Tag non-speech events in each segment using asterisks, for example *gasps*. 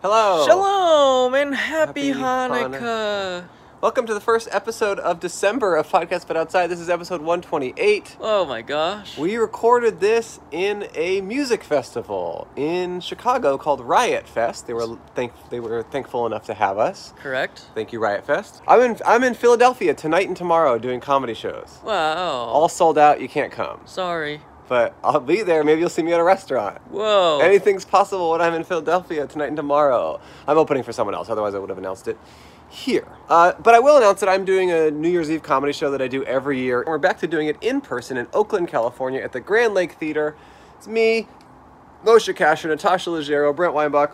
Hello. Shalom and happy, Happy Hanukkah. Welcome to the first episode of December of Podcast But Outside. This is episode 128. Oh my gosh. We recorded this in a music festival in Chicago called Riot Fest. They were thank they were thankful enough to have us. Correct? Thank you, Riot Fest. I'm in I'm in Philadelphia tonight and tomorrow doing comedy shows. Wow. All sold out. You can't come, Sorry. but I'll be there. Maybe you'll see me at a restaurant. Oh. Whoa. Anything's possible when I'm in Philadelphia tonight and tomorrow. I'm opening for someone else, otherwise I would have announced it here. Uh, but I will announce that I'm doing a New Year's Eve comedy show that I do every year. And we're back to doing it in person in Oakland, California at the Grand Lake Theater. It's me, Moshe Kasher, Natasha Leggero, Brent Weinbach,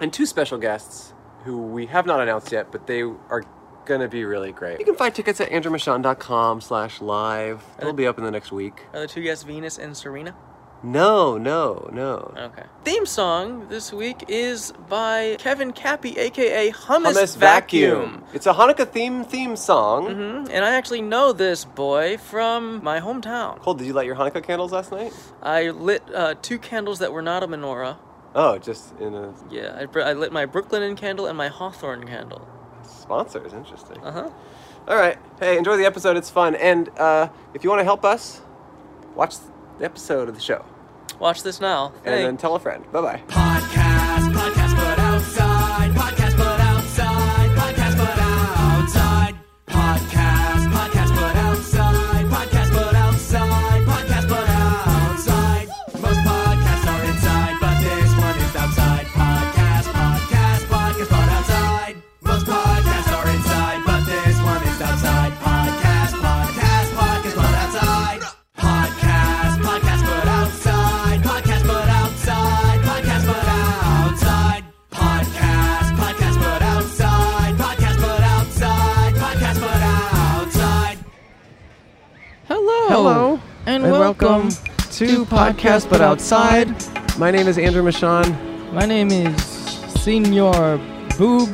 and two special guests who we have not announced yet, but they are gonna be really great. You can find tickets at andrewmichon.com slash live. They'll be up in the next week. Are the two guests Venus and Serena? No, no, no. Okay. Theme song this week is by Kevin Cappy, aka Hummus, Hummus Vacuum. It's a Hanukkah theme theme song. Mhm, And I actually know this boy from my hometown. Cool. Did you light your Hanukkah candles last night? I lit uh, two candles that were not a menorah. Oh, just in a Yeah, I, br- I lit my Brooklyn candle and my Hawthorne candle. sponsor is interesting. Uh huh. All right. Hey, enjoy the episode. It's fun. And uh, if you want to help us, watch the episode of the show Watch this now. and then Thanks. tell a friend. Bye bye. Podcast, podcast, but outside. Podcast, but outside. Podcast, but outside. Podcast, podcast, but outside. Podcast, but outside. Podcast, but outside. Most podcasts are inside, but this one is outside. Podcast, podcast, podcast, but outside. Most podcasts are inside, but this one is outside. Podcast, podcast, podcast, but outside. Podcast, podcast, but outside. Podcast, but outside. Podcast, but outside. Podcast, podcast, but outside. Podcast, but outside. Podcast, but outside. Hello. Hello, And, welcome. to Podcast But Outside. My name is Andrew Michon. My name is Senor Boob.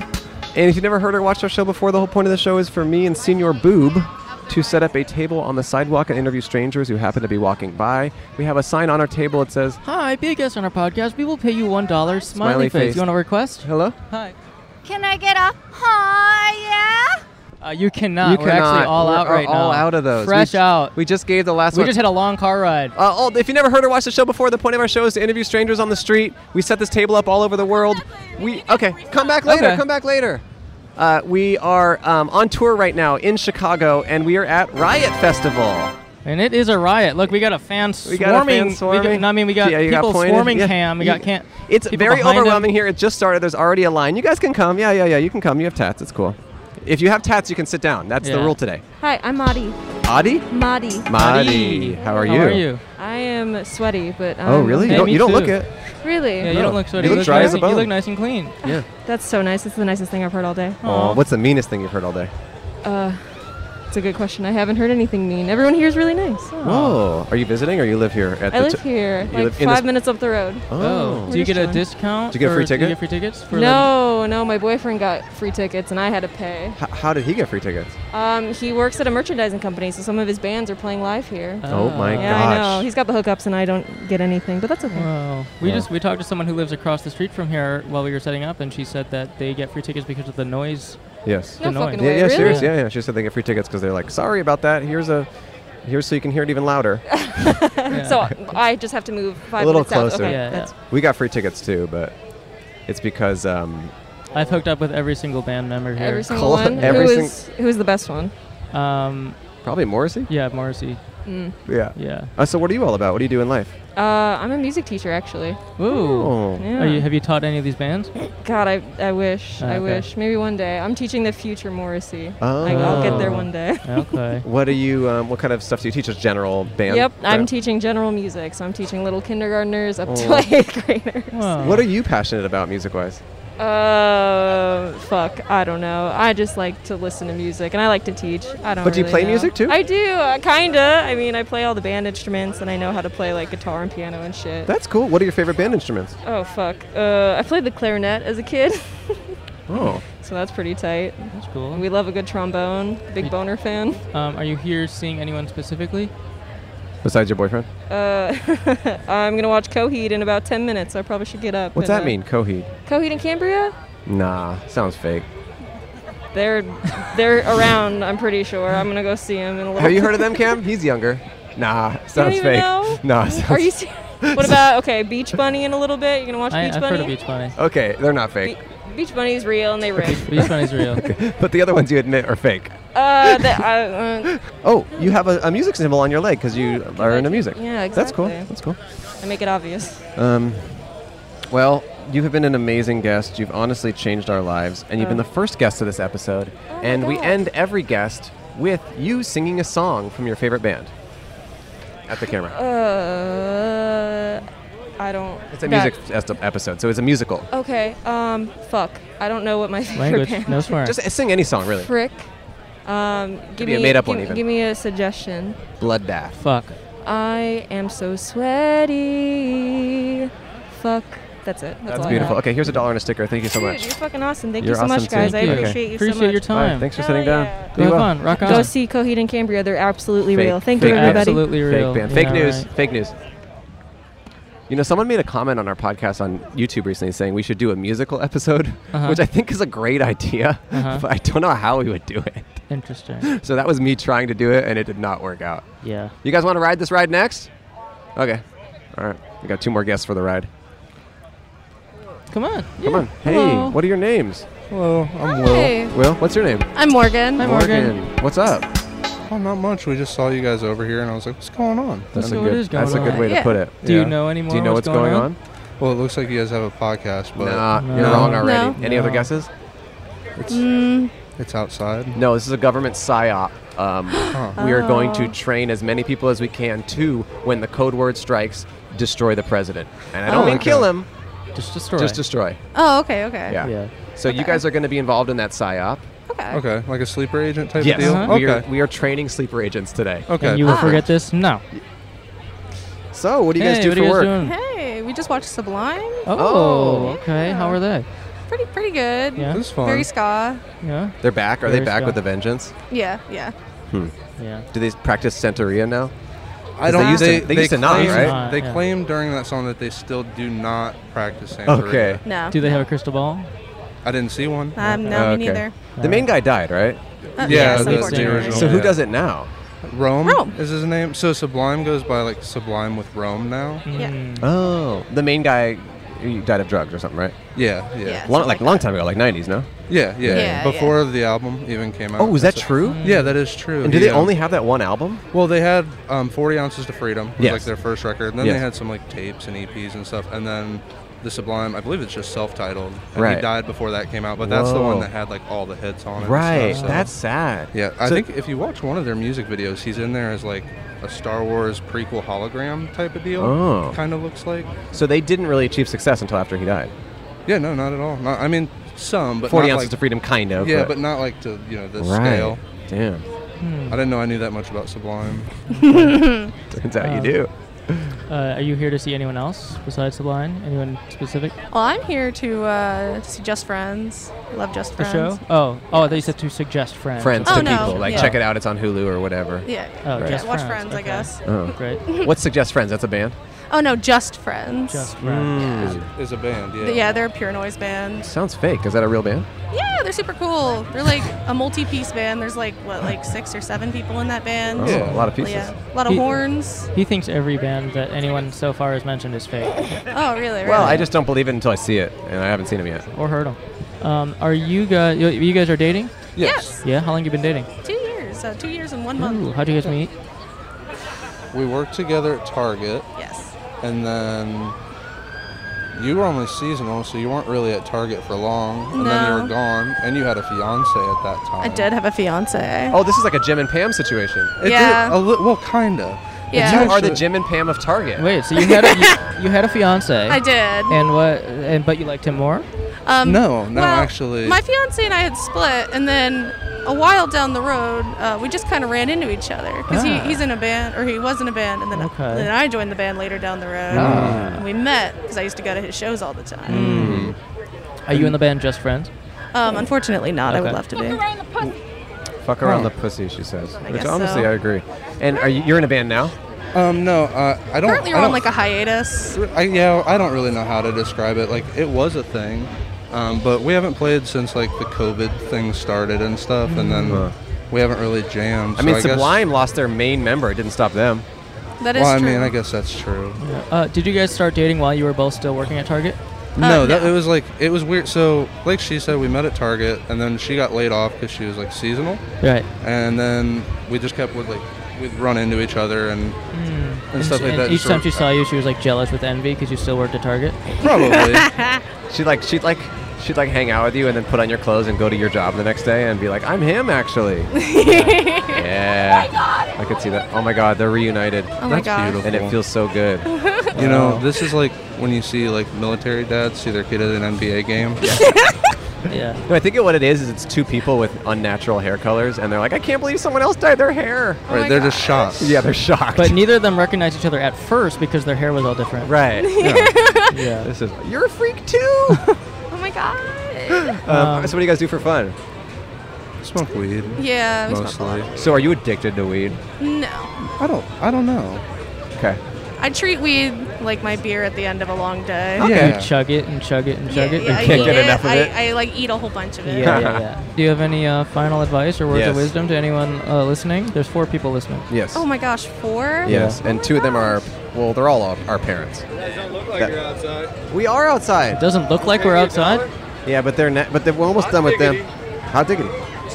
And if you've never heard or watched our show before, the whole point of the show is for me and Senior Boob to set up a table on the sidewalk and interview strangers who happen to be walking by. We have a sign on our table that says, Hi, be a guest on our podcast. We will pay you one dollar. Smiley, Smiley face. face. You want to request? Hello? Hi. Can I get a hi? Yeah. Uh, you cannot. You We're actually cannot. all We're- out are right now. all out of those. Fresh we, ju- out. We, We just gave the last one. just had a long car ride. uh, all, if you never heard or watched the show before, the point of our show is to interview strangers on the street. We set this table up all over the world. We okay, come back later. Okay. Come back later. Uh, we are um, on tour right now in Chicago, and we are at Riot Festival. And it is a riot. Look, we got a fan We swarming. got a fan we got- swarming. no, I mean, we got Yeah, you people pointed. swarming Yeah. Cam. We You- got Cam. It's people very behind him. overwhelming here. It just started. There's already a line. You guys can come. Yeah, yeah, yeah. You can come. You have tats. It's cool. If you have tats, you can sit down. That's the Yeah. rule today. Hi, I'm Madi. Adi, Madi. Madi, how are you? How are you? I am sweaty, but um, Oh, really? Hey, you don't, me you don't look too. it. Really? Yeah, you No. don't look so. You look dry nice as a and- bone. You look nice and clean. Yeah. That's so nice. It's the nicest thing I've heard all day. Uh, Aw, Aw. what's the meanest thing you've heard all day? It's a good question. I haven't heard anything mean. Everyone here is really nice. Oh, are you visiting or you live here? At I the live t- here, you like live in this- five minutes up the road. Oh. Do you We're get just a chilling. discount? Do you get a free for- Do ticket? you get free tickets? For No, no, my boyfriend got free tickets and I had to pay. H- how did he get free tickets? Um, he works at a merchandising company, so some of his bands are playing live here. The, Oh my yeah, gosh. I know. He's got the hookups and I don't get anything, but that's okay. Wow. We Yeah. just we talked to someone who lives across the street from here while we were setting up, and she said that they get free tickets because of the noise. Yes. no annoying. fucking Yeah, way. yeah, really? serious. Yeah, yeah. She said they get free tickets because they're like, sorry about that. Here's a, here's so you can hear it even louder. Yeah. *laughs* *laughs* So I just have to move five A little minutes south. closer. Okay, Yeah, that's- we got free tickets too, but it's because um, I've hooked up with every single band member here. Every single Clo- one. every who sing- was who was the best one? um, probably Morrissey. yeah, Morrissey. Mm. Yeah. Yeah. Uh, so what are you all about? What do you do in life? Uh, I'm a music teacher actually. Ooh. Oh. Yeah. Are you, have you taught any of these bands? God, I, I wish. Ah, I okay. wish. Maybe one day. I'm teaching the future Morrissey. Oh. Like, I'll get there one day. *laughs* Okay. What do you? Um, what kind of stuff do you teach? Just general band. Yep, I'm crap? teaching general music, so I'm teaching little kindergartners up to Oh. like *laughs* eighth graders. Wow. What are you passionate about music-wise? Uh, fuck, I don't know. I just like to listen to music, and I like to teach. I don't. But do you really play know. music, too? I do, uh, kinda. I mean, I play all the band instruments, and I know how to play like guitar and piano and shit. That's cool. What are your favorite band instruments? oh fuck. Uh, I played the clarinet as a kid, *laughs* Oh. so that's pretty tight. That's cool. We love a good trombone. Big boner fan. Um, are you here seeing anyone specifically? Besides your boyfriend? Uh, *laughs* I'm gonna watch Coheed in about 10 minutes. I probably should get up. What's and, that uh, mean? Coheed? Coheed and Cambria? Nah, sounds fake. They're they're around. I'm pretty sure. I'm gonna go see them in a little. Have you heard of *laughs* them, Cam? He's younger. Nah, You don't sounds even fake. know? Nah, sounds Are you? Serious? What about okay, Beach Bunny in a little bit? You gonna watch I, Beach I've Bunny? heard of Beach Bunny. Okay, they're not fake. Be- Beach Bunny's real and they rip. Beach *laughs* Bunny's real. But the other ones you admit are fake. uh, that I, uh, Oh, you have a, a music symbol on your leg because you are into music. yeah, That's cool. exactly. That's cool. I make it obvious. Um, well, you have been an amazing guest. You've honestly changed our lives, and you've been the Oh. first guest to this episode. and we God. end every guest with you singing a song from your favorite band at the camera. Uh, I don't. it's a that- music est- episode, so it's a musical. Okay. Um, fuck. I don't know what my *laughs* favorite Language, band. no swearing. Just uh, sing any song, really. Frick. Um, give be a me made-up one give- even. Give me a suggestion. Bloodbath. Fuck. I am so sweaty. Fuck. That's it. That's, all I That's got. beautiful. Okay, here's a dollar and a sticker. Thank you so Dude, much. you're fucking awesome. Thank You're you so awesome much, guys. too. I Okay. appreciate you so Appreciate much. your All right, time. thanks for Hell sitting down. yeah. Be Go have well. fun. Rock on. Go see Coheed and Cambria. They're absolutely Fake- real. Thank fake you, band. everybody. Absolutely real. Fake band. Yeah, Fake news. right. Fake news. You know, someone made a comment on our podcast on YouTube recently saying we should do a musical episode, Uh-huh. which I think is a great idea, Uh-huh. but I don't know how we would do it. Interesting. *laughs* So that was me trying to do it, and it did not work out. Yeah. You guys want to ride this ride next? Okay. All right. We got two more guests for the ride. Come on. Come on. Hey, Hello. what are your names? Hello, I'm Will. Hey, Will, what's your name? I'm Morgan. Hi, Morgan. What's up? Oh, not much. We just saw you guys over here, and I was like, "What's going on?" That's So a what is good. going That's a good on? way to Yeah. put it. Do you Yeah. know anymore? Do you know what's going on? Well, it looks like you guys have a podcast, but Nah, No. you're wrong No. already. Any other No. guesses? it's Mm, it's outside. No, this is a government psyop. Um, Huh. We are going Oh. to train as many people as we can to, when the code word strikes, destroy the president. And I don't Oh. mean Okay. kill him, Just destroy. just destroy. oh, okay, okay. Yeah. Yeah. So you guys are going to be involved in that psyop. Okay. Okay, like a sleeper agent type Yes. of deal. Uh-huh. Okay. We, are, we are training sleeper agents today. okay. And you will Ah. perfect. forget this? No. Ah. So what do you guys Hey, do what for are you guys work? doing? Hey, we just watched Sublime. Oh, Oh. okay. How are they? Pretty, pretty good. Yeah. This is fun. Very ska. Yeah. They're back. Are they Very back strong. Hmm. with a vengeance? Hmm. Yeah, yeah. Yeah. Do they practice Santeria now? I 'Cause don't. they used to- they used to not, claimed- right? Not, They yeah. claimed during that song that they still do not practice Santeria. Okay. No. Do they have a crystal ball? I didn't see one. Um, no, Oh, Okay. me neither. The main guy died, right? Uh, yeah, yes, the, the unfortunately. original. So who yeah. does it now? Rome, Rome. is his name. So Sublime goes by like Sublime with Rome now. Yeah. Mm. Oh, the main guy he died of drugs or something, right? Yeah, yeah, yeah, Yeah. Long, something like like a long time ago, like 90s, no? yeah. Yeah, Before the album even came out. Oh, is that That's a- true? Yeah, that is true. And do they Yeah. only have that one album? Well, they had um, 40 Ounces to Freedom, was Yes. like their first record. And then Yes. they had some like tapes and EPs and stuff. And then The Sublime, I believe it's just self titled. Right. He died before that came out, but that's the Whoa. one that had like all the hits on it. and Right. stuff, so- That's sad. Yeah, I So- think if you watch one of their music videos, he's in there as like a Star Wars prequel hologram type of deal. Oh. Kind of looks like. So they didn't really achieve success until after he died. Yeah, no, not at all. Not, I mean, some, but 40 not ounces like, to freedom, kind of. Yeah, but not like to, you know, this right. scale. Damn. I didn't know I knew that much *laughs* about Sublime. Turns out you Um, do. Uh, are you here to see anyone else besides Sublime? Anyone specific? Well, I'm here to uh, see Just Friends. Love Just The show? Friends. Oh, oh, they said to suggest friends. Friends Oh, to no, people. Like, yeah. check it out. It's on Hulu or whatever. Yeah. Oh, Right. just Watch friends, Friends, I okay. guess. Oh. Great. What's Suggest Friends? That's a band? Oh no, Just Friends. Just friends. Is a band, yeah. Th- Yeah, they're a pure noise band. Sounds fake. Is that a real band? Yeah, they're super cool. They're like a multi-piece band. There's like what, like six or seven people in that band. Oh, A Yeah. lot of pieces. Yeah, a lot of He- horns. He thinks every band that anyone so far has mentioned is fake *laughs* Oh, really? Well, really? I just don't believe it until I see it, and I haven't seen him yet. or heard 'em. Um, are you guys? You you guys are dating? yes. Yeah. How long you been dating? Two years. Uh, two years and one month. Ooh, how'd you guys meet? We worked together at Target, Yes. and then you were only seasonal, so you weren't really at Target for long. And then you No. were gone, and you had a fiance at that I time. did have a fiance. Oh, this is like a Jim and Pam situation. It Yeah. Did, a li- well, kinda. Yeah. You are the Actually- Jim and Pam of Target. Wait. So you had a, *laughs* you, you had a fiance. I did. And what? And but you liked him more? Um, No, no, well, actually- My fiance and I had split, and then a while down the road, uh, we just kind of ran into each other because Ah. he, he's in a band, or he was in a band, and then, Okay. Ah. then I joined the band later down the road. And we met because I used to go to his shows all the time. Hmm. Are you in the band Just Friends? Um, unfortunately, not. I would Okay. love to be. Fuck around the pussy, she says. Which guess honestly, so. I agree. And are you, you're in a band now? Um, no, uh, I don't. Currently, I we're on don't- like a hiatus. I, yeah, I don't really know how to describe it. Like, it was a thing, um, but we haven't played since like the COVID thing started and stuff, and then Huh. we haven't really jammed. Uh-huh. I mean, so Sublime lost their main member. It didn't stop them. Guess, That is well, I true. mean, I guess that's true. Uh, did you guys start dating while you were both still working at Target? no, Uh, that no. it was like it was weird. So, like she said, we met at Target, and then she got laid off because she was like seasonal, Right. and then we just kept with like we'd run into each other and Hmm. and stuff like that. Hmm. each sort time of- she saw you, she was like jealous with envy because you still worked at Target. *laughs* *laughs* probably. She'd like, she'd like, she'd like hang out with you and then put on your clothes and go to your job the next day and be like, "I'm him, *laughs* actually." Oh yeah. I could see that. Oh my god, they're reunited. oh my That's gosh. beautiful. And it feels so good. You know, Wow. this is like when you see like military dads see their kid at an NBA game. *laughs* Yeah. No, I think it, what it is is it's two people with unnatural hair colors, and they're like, "I can't believe someone else dyed their hair." Oh right, my they're gosh. just shocked. Yeah, they're shocked. But neither of them recognized each other at first because their hair was all different. *laughs* right. *laughs* Yeah. This is you're a freak too. Uh, um, Oh *gasps* my god. Um, so what do you guys do for fun? smoke weed. Yeah. We smoked a lot. Mostly. So are you addicted to weed? No. I don't. I don't know. Okay. I treat weed like my beer at the end of a long day. Okay. You chug it and chug it and chug it. I and can't eat get enough of I, it. I like eat a whole bunch of it. *laughs* Yeah, yeah, yeah. Do you have any uh, final advice or words Yes. of wisdom to anyone uh, listening? There's four people listening. Yes. *laughs* Oh my gosh, four? Yes, Yeah. and two of them are well, they're all our, our parents. We are It outside. doesn't look like we're outside. Yeah, but they're na- but they're, we're almost done with them. How diggity?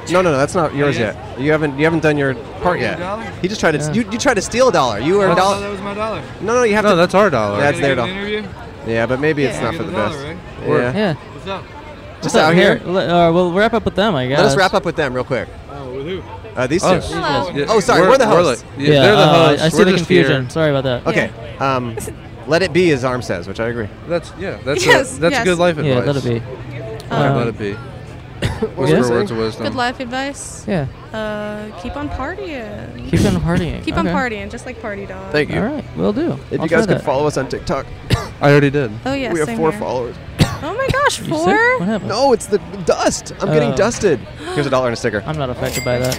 No, no, no, that's not yours yet. You haven't you haven't done your part yet. He just tried to Yeah. you, you tried to steal a dollar. You were a dollar. Oh, That was my dollar. No, no, you have No, to. that's our dollar. that's their dollar. Yeah, but maybe it's Yeah. not for the best. We're- Yeah. Yeah. Just What's up? out here. Let- uh, we'll wrap up with them, I guess. Let us wrap up with them real quick. Oh, with who? Uh, these two. Us. Hello. Yeah, Oh, sorry, we're the hosts. like- yeah, they're the uh, hosts. I see we're the just confusion. here. Sorry about that. Okay. Um, let it be as Arm says, which I agree. That's yeah. That's Yes, a, that's yes. good life advice. Yeah, let it be. All right, Um, let *coughs* it be. were you Whisper saying? words of wisdom. Good life advice. Yeah. Uh, keep on partying. Keep on partying. *laughs* Keep on Okay. partying, just like Party Dog. Thank you. All right, we'll do. If I'll you guys try could that. follow us on TikTok, *coughs* I already did. Oh yeah, we have same four here. followers. Oh my gosh, You sick? What four! happened? No, Oh, it's the dust. I'm getting Oh. dusted. Here's a dollar and a sticker. I'm not affected by *gasps* that.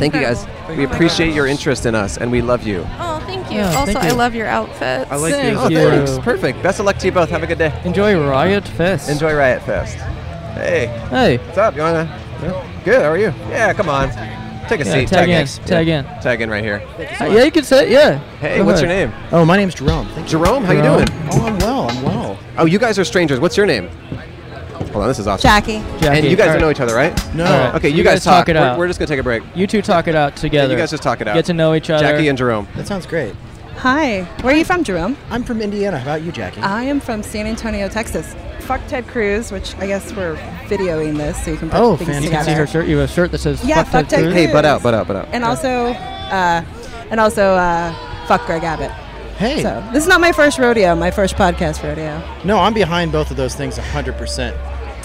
Thank you guys. We appreciate your interest in us, and we love you. Oh, thank you. Yeah, also, thank I you. love your outfits. I like Thank these. Oh, you. thanks. Perfect. Best of luck to you both. Have a good day. Enjoy Riot Fest. Enjoy Riot Fest. Hey, Hey. what's up? You wanna? yeah? Good. How are you? Yeah, come on. Take a Yeah, seat. tag in, next. tag Yeah. in. Tag in right here. Uh, yeah, you could say yeah. Hey, Go what's your ahead. name? Oh, my name's Jerome. Thank you. Jerome. How you Jerome. doing? Oh, I'm well. I'm well. Oh, you guys are strangers. What's your name? Hold on, this is awesome. Jackie. Jackie. And you guys All don't know right. each other, right? No. All right. Okay, you, You guys, guys talk it We're- out. We're, just gonna take a break. You two talk it out together. guys just talk it out. Get to know each other. Jackie and Jerome. That sounds great. Hi. Where are you from, Jerome? I'm from Indiana. How about you, Jackie? I am from San Antonio, Texas. Fuck Ted Cruz, which I guess we're videoing this so you can put Oh, things fantastic. you can see together. her shirt. You have a shirt that says Yeah, "Fuck fuck Ted Ted Cruz." Hey, butt out, butt out, butt out. And also, uh, and also, uh, fuck Greg Abbott. hey. So this is not my first rodeo, my first podcast rodeo. No, I'm behind both of those things 100%.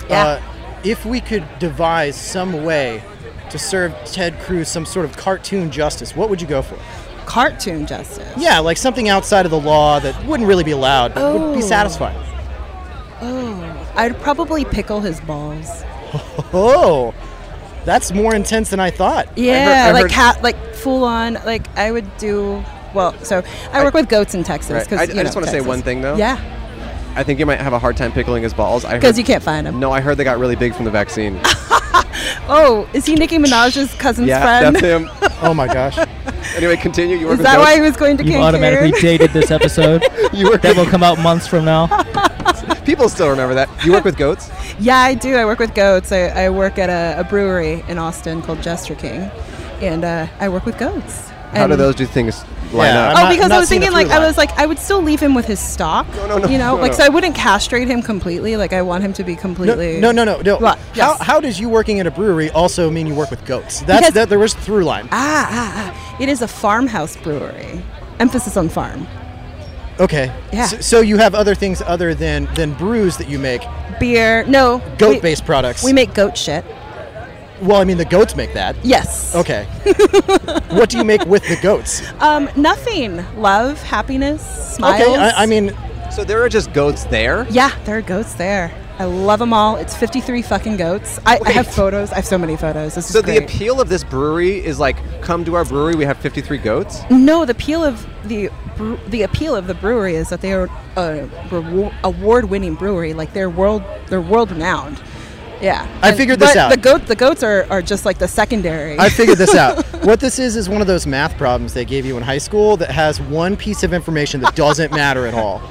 Yeah. Uh, if we could devise some way to serve Ted Cruz some sort of cartoon justice, what would you go for? Cartoon justice. Yeah, like something outside of the law that wouldn't really be allowed, but would be Oh. satisfying. I'd probably pickle his balls. Oh, that's more intense than I thought. Yeah, I like heard- cat, like full on. Like I would do. Well, so I work with goats in Texas. Right. 'cause, I- you I just know, wanna say Texas. one thing, though. Yeah, I think you might have a hard time pickling his balls. I because heard- you can't find him. No, I heard they got really big from the vaccine. *laughs* Oh, is he Nicki Minaj's cousin's yeah, friend? that's *laughs* him. Oh my gosh. Anyway, continue. You work Is with that goats? why he was going to You've Cancun? automatically dated this episode. *laughs* You work that will come out months from now. *laughs* People still remember that. You work with goats? Yeah, I do. I work with goats. I, I work at a, a brewery in Austin called Jester King, and uh, I work with goats. How do And- those two things line up? Yeah, Um, I'm Oh, not- because not I was seeing the thinking like through I line. was like I would still leave him with his stock. No, no, no, You know, no, like no. so I wouldn't castrate him completely. Like I want him to be No, completely. no, no, no. no. What? How, Yes. how does you working at a brewery also mean you work with goats? That's Because- that there was through line. Ah, ah, ah. It is a farmhouse brewery. Emphasis on farm. Okay. Yeah. So, so you have other things other than than brews that you make, Oh, Beer. No. we- goat-based products. We make goat shit. Well, I mean the goats make that. Yes. *laughs* Okay. what do you make with the goats? Um, nothing. Love, happiness, smiles. Okay. I, I mean, So there are just goats there? Yeah, there are goats there. I love them all. It's 53 fucking goats. I, I have photos. I have so many photos. This So is great. the appeal of this brewery is like, come to our brewery. We have 53 goats. No, the appeal of the bre- the appeal of the brewery is that they are a rewar- award-winning brewery. Like they're world they're world renowned. Yeah, I figured this but out. The goat the goats are, are just like the secondary. I figured this *laughs* out. What this is is one of those math problems they gave you in high school that has one piece of information that doesn't matter at all.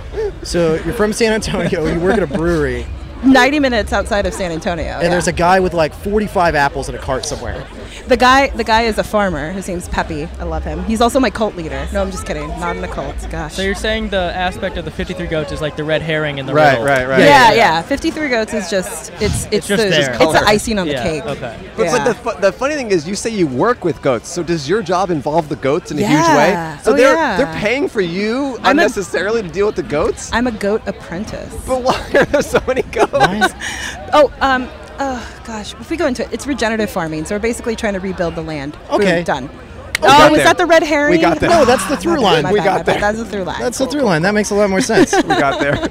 So you're from San Antonio, you work at a brewery, Ninety minutes outside of San Antonio. and there's a guy with like 45 apples in a cart somewhere. the guy the guy is a farmer. His name's Peppy. I love him. He's also my cult leader. No, I'm just kidding. Not in a cult. Gosh. *laughs* So you're saying the aspect of the 53 goats is like the red herring in the Right, riddle. right, right. yeah, yeah, 53 goats is just it's it's, just the, there. it's the Color. icing on Yeah, the cake. okay. But, Yeah. but the, fu- the funny thing is, you say you work with goats. So does your job involve the goats in a Yeah. huge way? So Oh, they're yeah. they're paying for you I'm a- unnecessarily to deal with the goats. I'm a goat apprentice. But why are there so many goats? *laughs* Oh, um, oh gosh, if we go into it, it's regenerative farming. So we're basically trying to rebuild the land. Boom, Okay. done. got oh, was there. that the red herring? We got there. No, that's the *laughs* My through bad, line. my We bad, got my bad. there. That's the through line. That's the through line. That makes a lot more sense. *laughs* we got there.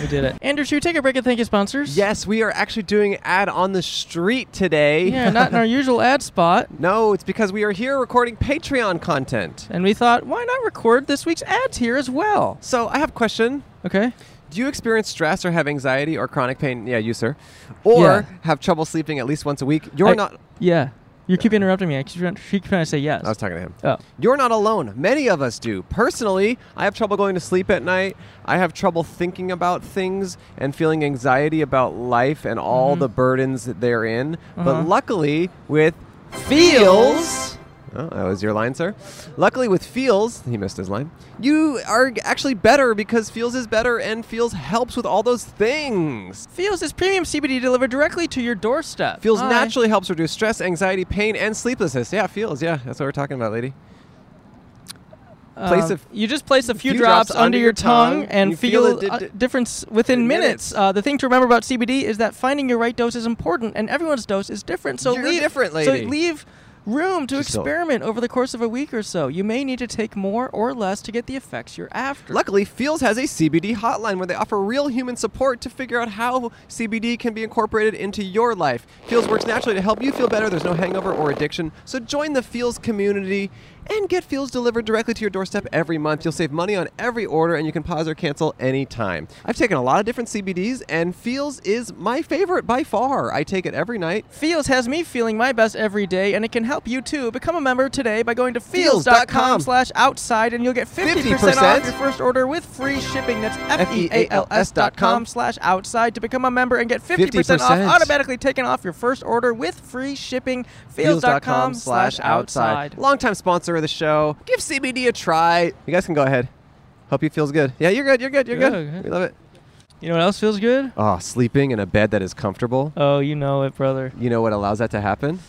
We did it. Anders, should we take a break and thank your sponsors? Yes, we are actually doing an ad on the street today. Yeah, not *laughs* in our usual ad spot. No, it's because we are here recording Patreon content. And we thought, why not record this week's ads here as well? So I have a question. Okay. Do you experience stress or have anxiety or chronic pain? Yeah, you, sir. Or have trouble sleeping at least once a week? You're I- not. Yeah. You keep interrupting me. I keep trying, she keep trying to say yes. I was talking to him. oh. You're not alone. Many of us do. Personally, I have trouble going to sleep at night. I have trouble thinking about things and feeling anxiety about life and all the burdens that they're in. But luckily, with feels. Oh, that was your line, sir. Luckily, with Feels, he missed his line. You are actually better because Feels is better, and Feels helps with all those things. Feels is premium CBD delivered directly to your doorstep. Feels Hi. naturally helps reduce stress, anxiety, pain, and sleeplessness. Yeah, Feels. Yeah, that's what we're talking about, lady. place Um, a f- you just place a few, drops, under your tongue, and you feel feel, it a di- di- difference within in minutes. minutes. Uh, the thing to remember about CBD is that finding your right dose is important, and everyone's dose is different. So You're leave, different, lady. So leave room to Just don't- experiment over the course of a week or so. You may need to take more or less to get the effects you're after. Luckily, Feels has a CBD hotline where they offer real human support to figure out how CBD can be incorporated into your life. Feels works naturally to help you feel better. There's no hangover or addiction. So join the Feels community and get Feels delivered directly to your doorstep every month. You'll save money on every order and you can pause or cancel anytime. I've taken a lot of different CBDs and Feels is my favorite by far. I take it every night. Feels has me feeling my best every day, and it can help you too. Become a member today by going to Feels.com feels.com slash outside, and you'll get 50% off 50%? your first order with free shipping. That's E E F-E-A-L-S F-E-A-L-S.com dot com slash outside to become a member and get 50%, off 50%. automatically taken off your first order with free shipping. Feels.com slash outside. Longtime sponsor of the show. Give CBD a try. You guys can go ahead. Hope you feels good. Yeah, you're good. You're good. You're good. Good. We love it. You know what else feels good? Oh, sleeping in a bed that is comfortable. Oh, you know it, brother. You know what allows that to happen?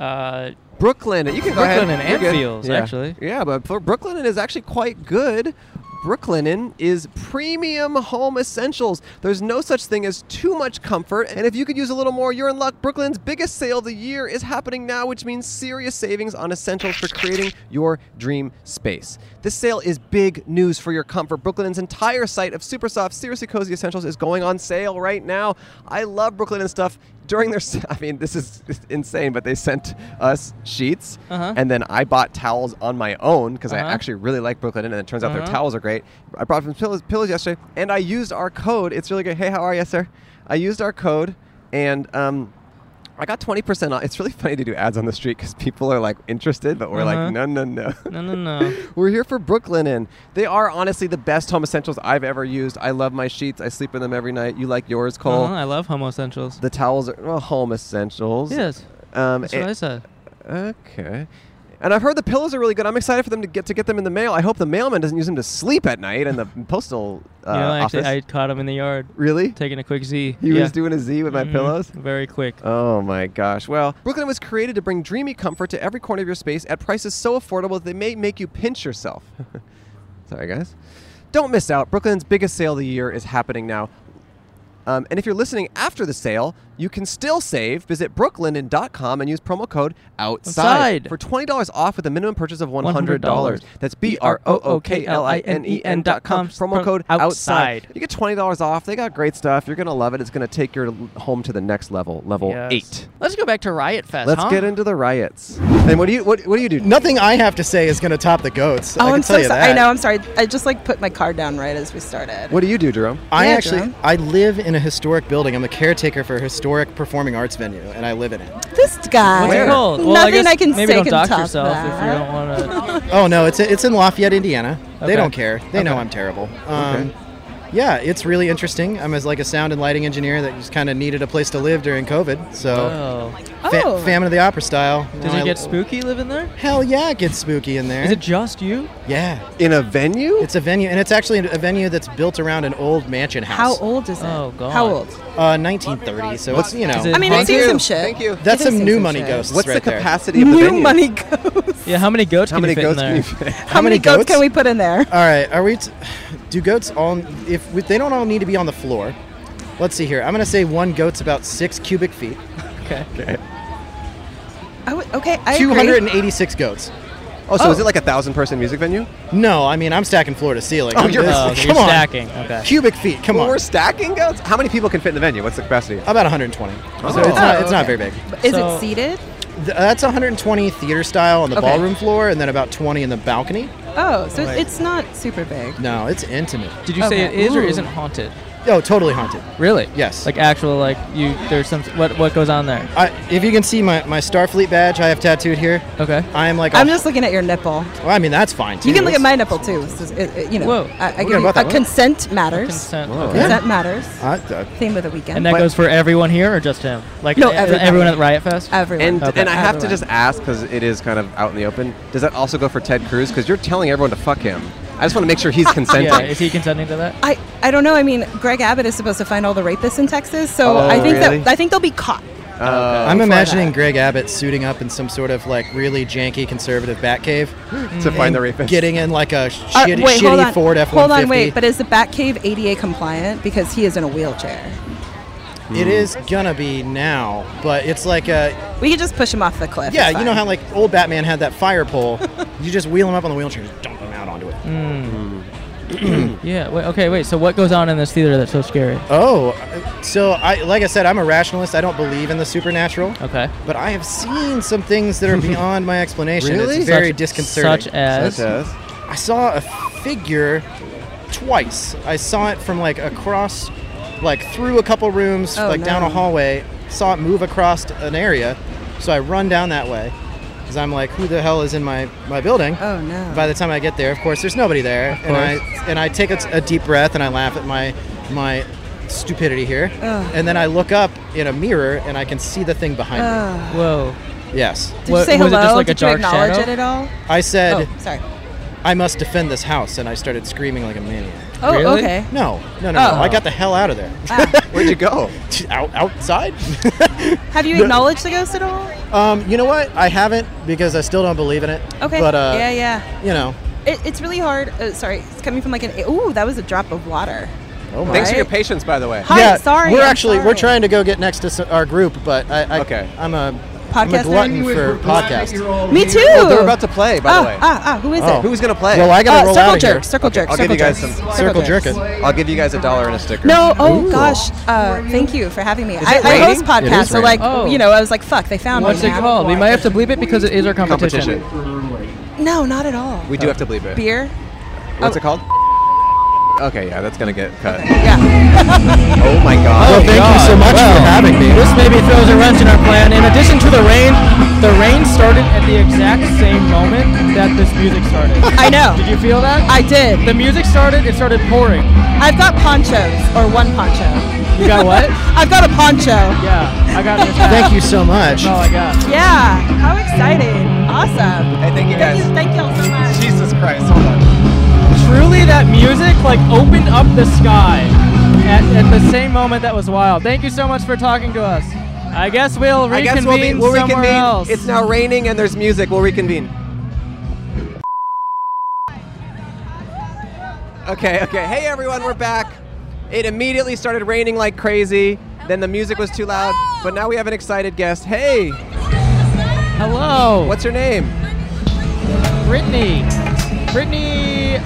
Uh, Brooklyn. You can go ahead. Brooklyn and You're good. Anfields, yeah. actually. Yeah, but for Brooklyn is actually quite good. Brooklinen is premium home essentials. There's no such thing as too much comfort, and if you could use a little more, you're in luck. Brooklyn's biggest sale of the year is happening now, which means serious savings on essentials for creating your dream space. This sale is big news for your comfort. Brooklinen's entire site of super soft, seriously cozy essentials is going on sale right now. I love Brooklinen stuff. During their, *laughs* s- I mean, this is insane, but they sent us sheets, Uh-huh. and then I bought towels on my own because Uh-huh. I actually really like Brooklyn, and it turns out Uh-huh. their towels are great. I brought some pillows, pillows yesterday, and I used our code. It's really good. Hey, how are you, sir? I used our code, and um, I got twenty percent off. It's really *laughs* funny to do ads on the street because people are like interested, but we're Uh-huh. like, no, no, no. no, no, no. *laughs* We're here for Brooklinen. They are honestly the best home essentials I've ever used. I love my sheets. I sleep in them every night. You like yours, Cole? Uh-huh, I love homo essentials. The towels are well, home essentials. Yes, Um, that's what and- I said. Okay. And I've heard the pillows are really good. I'm excited for them to get to get them in the mail. I hope the mailman doesn't use them to sleep at night and the *laughs* postal uh, you know, actually, office. I caught him in the yard really? taking a quick Z. He Yeah. was doing a Z with my Mhm. pillows. Very quick. Oh my gosh. Well, Brooklyn was created to bring dreamy comfort to every corner of your space at prices so affordable that they may make you pinch yourself. *laughs* Sorry, guys. Don't miss out. Brooklyn's biggest sale of the year is happening now. Um, and if you're listening after the sale, you can still save. Visit brooklinen.com and use promo code outside, Outside. for $20 off with a minimum purchase of $100. $100. That's B R O O K L I N E N dot com. Promo code outside. outside. You get $20 off. They got great stuff. You're going to love it. It's going to take your l- home to the next level, level Yes. eight. Let's go back to Riot Fest. Let's huh? get into the riots. And what do you what, what do you do? Nothing I have to say is going to top the goats. I Oh, can I'm tell so you sorry. that. I know. I'm sorry. I just like put my card down right as we started. What do you do, Jerome? I Yeah, actually John. I live in a historic building. I'm the caretaker for a historic performing arts venue, and I live *laughs* in it. This guy. What's it called? Nothing Well, I, guess I can maybe say don't can dox top yourself that. if you don't *laughs* want to. Oh no, it's it's in Lafayette, Indiana. They Okay. don't care. They know Okay. I'm terrible. Um, Yeah, it's really interesting. I'm as like a sound and lighting engineer that just kind of needed a place to live during COVID. So Oh. fa- Oh. famine of the opera style. You Does know, it I- get spooky living there? Hell yeah, it gets spooky in there. Is it just you? yeah, In a venue? it's a venue, and it's actually a venue that's built around an old mansion How house. old is it? Oh, God. How old? Uh, 1930. So it's you know is it- I mean, Thank I've seen you. some shit. Thank you. that's It is some new some money shit. ghosts. What's the right there. capacity of the New venue? money goes. Yeah. How many goats How can many you fit goats in can there? you fit? How, many, goats? can we put in there? All right, are we? T- do goats all? If we, they don't all need to be on the floor, let's see here. I'm gonna say one goat's about six cubic feet. okay. I would, okay, I agree. 286 goats. Oh, so is it like a thousand person music venue? No, I mean I'm stacking floor to ceiling. Oh, I'm you're- just- *laughs* Oh, okay, come you're on. stacking. Okay. Cubic feet. Come Well, we're on. stacking goats. How many people can fit in the venue? What's the capacity? About 120. Oh. So it's, not, Oh, it's not okay. very big. Is So- it seated? Th- That's 120 theater style on the Okay. ballroom floor, and then about 20 in the balcony. Oh, so it's not super big. No, it's intimate. Did you say it Okay. is or Ooh. isn't haunted? Oh, totally haunted. Really? Yes. Like actual like you there's some what what goes on there? I, if you can see my, my Starfleet badge I have tattooed here, Okay. I am like. a- I'm just looking at your nipple. Well, I mean that's fine. Too. You can look at It's- my nipple too. So it- it- you know, Whoa. I, I What give you- about that uh, one? consent matters. Consent. Whoa. Okay. Yeah. Consent matters. I, I- Theme of the weekend. And that goes for everyone here or just him? Like No, e- everybody. everyone at Riot Fest? Everyone. And Okay. and I have to Everyone. just ask because it is kind of out in the open. Does that also go for Ted Cruz? Because you're telling everyone to fuck him. I just want to make *laughs* sure he's consenting. yeah, *laughs* is he consenting to that? I, I don't know. I mean, Greg Abbott is supposed to find all the rapists in Texas, so Oh, I think really? that I think they'll be caught. Uh, I'm Oh, for imagining that. Greg Abbott suiting up in some sort of like really janky conservative Batcave, *gasps* to find the and rapist. getting in like a Uh, shitty, wait, hold on. shitty Ford F150. Hold on, wait. But is the Batcave ADA compliant because he is in a wheelchair? It Hmm. is gonna be now, but it's like a We could just push him off the cliff. yeah. it's You know fine. how like old Batman had that *laughs* fire pole? you just wheel him up on the wheelchair, and just dump him out onto it. Hmm. *clears throat* Hmm. Yeah. Wait, okay. Wait. So what goes on in this theater that's so scary? Oh, uh, so I like I said, I'm a rationalist. I don't believe in the supernatural, Okay. but I have seen some things *laughs* that are beyond my explanation. Really? It's very Such- disconcerting. Such as. Such as? I saw a figure twice. I saw it from like across, like through a couple rooms, Oh, like down a no. hallway. Saw it move across an area, so I run down that way because I'm like, who the hell is in my my building? Oh no. By the time I get there, of course, there's nobody there, and I and I take a, a deep breath and I laugh at my my stupidity here, Ugh. and then I look up in a mirror and I can see the thing behind Ugh. Whoa. me. Yes, Did you What- say was it hello? just like a Did dark you acknowledge shadow? it at all? I said Oh, sorry. I must defend this house, and I started screaming like a maniac. Oh, Really? okay. No, no, no, Oh. Ah. no. I got the hell out of there. *laughs* Where'd you go? Out, outside? Have you acknowledged the ghost at all? um, you know what? I haven't because I still don't believe in it. Okay. But, uh, yeah, yeah. you know. It, it's really hard. Uh, sorry, it's coming from like an. Ooh, that was a drop of water. Oh, my. Thanks for Right? your patience, by the way. Hi, yeah, sorry. We're I'm actually, we're sorry. trying to go get next to s our group, but I, I Okay. I'm a, I'm Podcast a glutton night? for podcasts. Me too. Oh, they're about to play, by ah, the way. ah, ah, who is Oh. it? Who's gonna play? Well, I gotta Uh, roll circle out of jerk, here. circle jerk, I'll give circle you guys jerk. some- Circle jerk. jerking. I'll give you guys a dollar and a sticker. No, oh gosh, uh, thank you for having me. I, it I raining? host It podcasts, is so like, raining. you know, I was like, fuck, they found Oh. What's me. it now. called? We might have to bleep it because it is our competition. Competition. No, not at all. We do have to bleep it. Beer? What's Oh. it called? Okay, yeah, that's gonna get cut. Yeah. Oh my god. Well, thank you so much for having me. This maybe throws a wrench in our plan. In addition to the rain, the rain started at the exact same moment that this music started. *laughs* I know. Did *laughs* you feel that? I did. the music started. It started pouring. I've got ponchos, or one poncho. You got what? *laughs* I've got a poncho. yeah, I got it. Thank you so much. That's all I got. Yeah. How exciting. Awesome. Hey, thank you Thank guys. you, thank y'all so much. Jesus Christ, hold on. Truly, that music like opened up the sky at, at the same moment. That was wild. Thank you so much for talking to us. I guess we'll I reconvene guess we'll, be, we'll somewhere reconvene. else. It's now raining and there's music. We'll reconvene. Okay, okay. Hey everyone, we're back. It immediately started raining like crazy. Then the music was too loud. But now we have an excited guest. Hey. Hello. What's your name? Brittany. Brittany,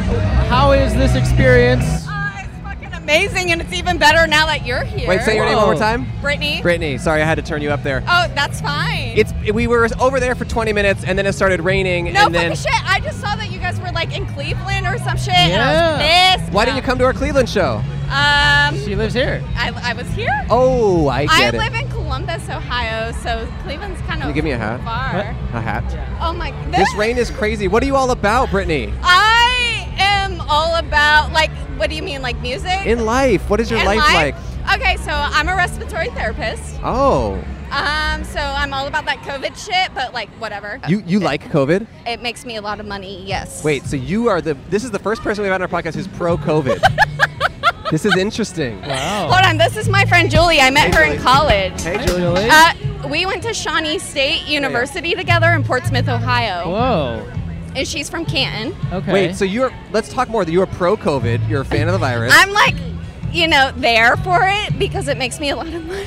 how is this experience? Uh, Amazing, and it's even better now that you're here. Wait, say your name one more time. Brittany. Brittany. Sorry, I had to turn you up there. Oh, that's fine. It's we were over there for 20 minutes and then it started raining no and then fucking shit. I just saw that you guys were like in Cleveland or some shit, Yeah. and I was pissed. Why didn't you come to our Cleveland show? Um, She lives here. I, I was here. Oh, I I get it. live in Columbus, Ohio, so Cleveland's kind of Can you give me a hat? far. A hat. Oh my. This rain is crazy. What are you all about, Brittany? I am all about like. What do you mean, like music? In life, what is your In life, like? Okay, so I'm a respiratory therapist. Oh, Um, so I'm all about that COVID shit, but like whatever. you you like COVID? It makes me a lot of money. Yes. Wait, so you are the this is the first person we've had on our podcast who's pro *laughs* COVID. this is interesting. Wow. Hold on, this is my friend Julie. I met Oh. Hey, her Julie. in college. Hey, Julie. Julie. Oh, Uh, we went to Shawnee State University together in Portsmouth, Ohio. Whoa. And she's from Canton. Wait, so you're let's talk more. You're pro COVID. You're a fan of the virus. I'm like, you know, there for it because it makes me a lot of money.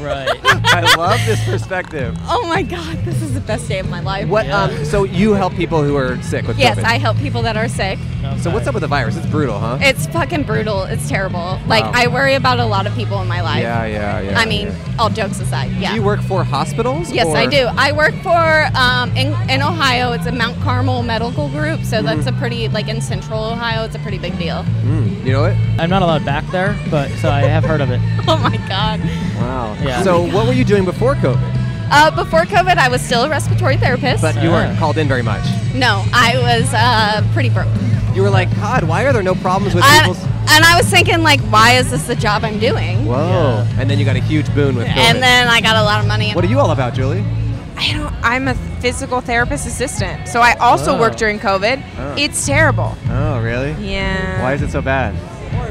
right. *laughs* I love this perspective. Oh my God, this is the best day of my life. What um so you help people who are sick with Yes, COVID. I help people that are sick. So what's up with the virus? It's brutal, huh? It's fucking brutal. It's terrible. Like, Wow. I worry about a lot of people in my life. Yeah, yeah, yeah. I mean, all jokes aside, yeah. Do you work for hospitals? Yes, I or- do. I work for um, in, in Ohio. It's a Mount Carmel Medical Group, so that's Mm-hmm. a pretty like in Central Ohio. It's a pretty big deal. *laughs* Hmm, Mm, you know it? I'm not allowed back there, but so I have heard of it. Oh my god. Wow. Yeah. So what were you doing before COVID? Uh, before COVID, I was still a respiratory therapist. Uh, But you weren't called in very much. No, I was uh, pretty broke, You were like, God, why are there no problems with I- people's and I was thinking like, why is this the job I'm doing? Whoa. And then you got a huge boon with COVID. And then I got a lot of money. and- What are you all about, Julie? I don't. I'm a physical therapist assistant, so I also Oh. work during COVID. Oh. It's terrible. Oh, really? Yeah. Why is it so bad?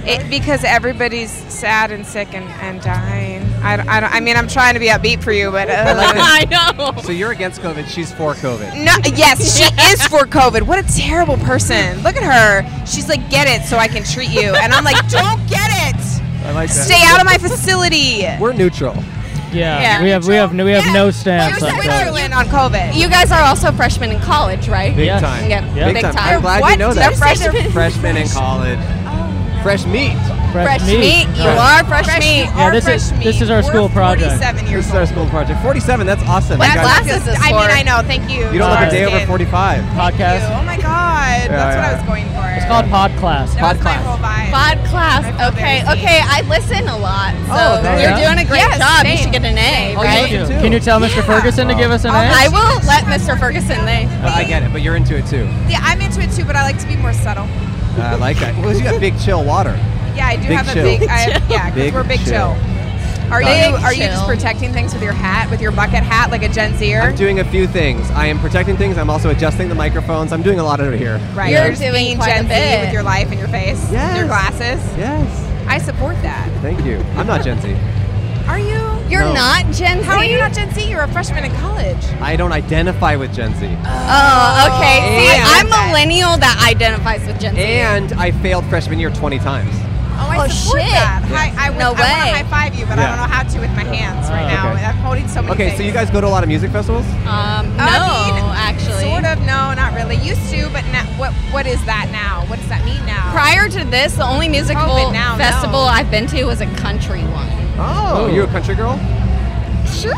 It, because everybody's sad and sick and, and dying. I, don't- I, don't- I mean, I'm trying to be upbeat for you, but. Uh, *laughs* *laughs* know. So you're against COVID, she's for COVID. No, yes, she is for COVID. What a terrible person. Look at her. She's like, get it so I can treat you. And I'm like, don't get it. I like that. Stay out of my facility. We're neutral. Yeah, Yeah. we have we have no we have no stance on COVID. Switzerland on COVID. You guys are also freshmen in college, right? Big time. Yeah, Big, time. I'm glad you know that. They're freshmen. Freshmen in *laughs* college. Fresh meat. Oh. Fresh meat. meat. You are fresh, meat. Yeah, this is this is our school project. This is our school project. 47, that's awesome. That's You guys- the biggest- I mean, I know. Thank you. You don't look a day over Thank 45. you. Podcast. Oh my God. That's what I was going for. It's called Pod Class. That was my whole vibe. Bod class. Okay, okay. I listen a lot. So Oh, there you're you go. doing a great Yes, job. You same. should get an A, Oh, you right? do. Can you tell Mr. Ferguson to give us Oh, an I A? will let Mr. Ferguson. They. But Uh, I get it, but you're into it too. Uh, Yeah, I'm into it too, but I like to be more subtle. I like that. Well, you got big chill water. Yeah, I do Big have a chill. big. I have, yeah, Big because we're big chill. chill. Are Got you it. are you just Chill. protecting things with your hat, with your bucket hat, like a Gen I'm Zer? doing a few things. I am protecting things. I'm also adjusting the microphones. I'm doing a lot over here. Right, You're you're just doing being quite Gen Z a bit. with your life and your face, and Yes. your glasses. Yes. I support that. Thank you. I'm not Gen Z. Are you? You're No. not Gen Z. How are you not Gen Z? You're a freshman in college. I don't identify with Gen Z. Uh, Oh, okay. See, Yeah. I'm millennial that identifies with Gen Z. And I failed freshman year 20 times. Oh, I Oh, support shit. that. Hi, I would, I No want way. to high five you, but Yeah. Oh, I don't know how to with my hands right now. okay. I'm holding so many. Okay, so things. you guys go to a lot of music festivals? Um, no, I mean, actually. Sort of. No, not really. Used to, but now, what? What is that now? What does that mean now? Prior to this, the only musical COVID now, no. festival I've been to was a country one. Oh, Ooh. you're a country girl? Sure.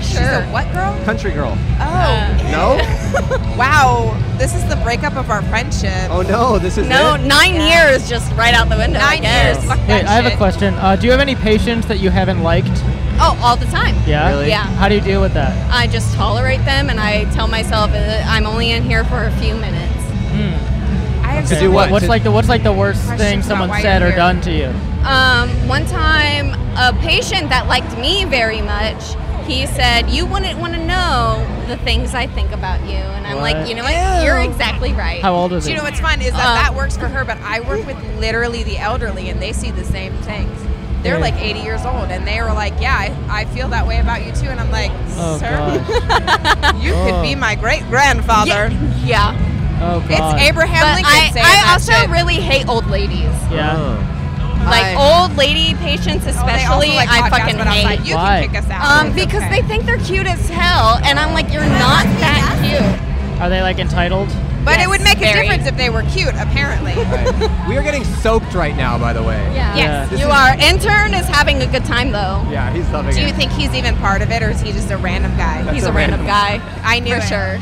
She's Sure. Uh, a what girl? Country girl. Oh, No? *laughs* wow. This is the breakup of our friendship. Oh no, this is No, it? nine years just right out the window. I Nine years. guess. Fuck that Wait, I have a shit. question. Uh, do you have any patients that you haven't liked? Oh, all the time. Yeah. Really? Yeah. How do you deal with that? I just tolerate them and I tell myself that I'm only in here for a few minutes. I have To so do what? What's To- like the what's like the worst Questions thing about someone why said you're or here. done to you? Um, one time, a patient that liked me very much, he said, You wouldn't want to know the things I think about you. And I'm What? like, You know what? You're exactly right. How old was Do he? you know what's fun is that Uh, that works for her, but I work with literally the elderly, and they see the same things. They're Yeah. like 80 years old, and they were like, "Yeah, I, I feel that way about you too." And I'm like, Oh "Sir, gosh. *laughs* you Oh. could be my great grandfather." Yeah. Oh god. It's Abraham But Lincoln I, saying I that also shit. really hate old ladies. Yeah. Oh. Like old lady patients, especially, like I podcasts, fucking but I was hate. like, you can Why? kick us out. Um, because they think they're cute as hell, and I'm like, you're not that cute. Are they like entitled? But it would make very. a difference if they were cute, apparently. we are getting soaked right now, by the way. Yeah. Yes, This you is- are. Intern is having a good time though. Yeah, he's loving Do it. you think he's even part of it, or is he just a random guy? That's He's a random, guy. I knew for it. sure.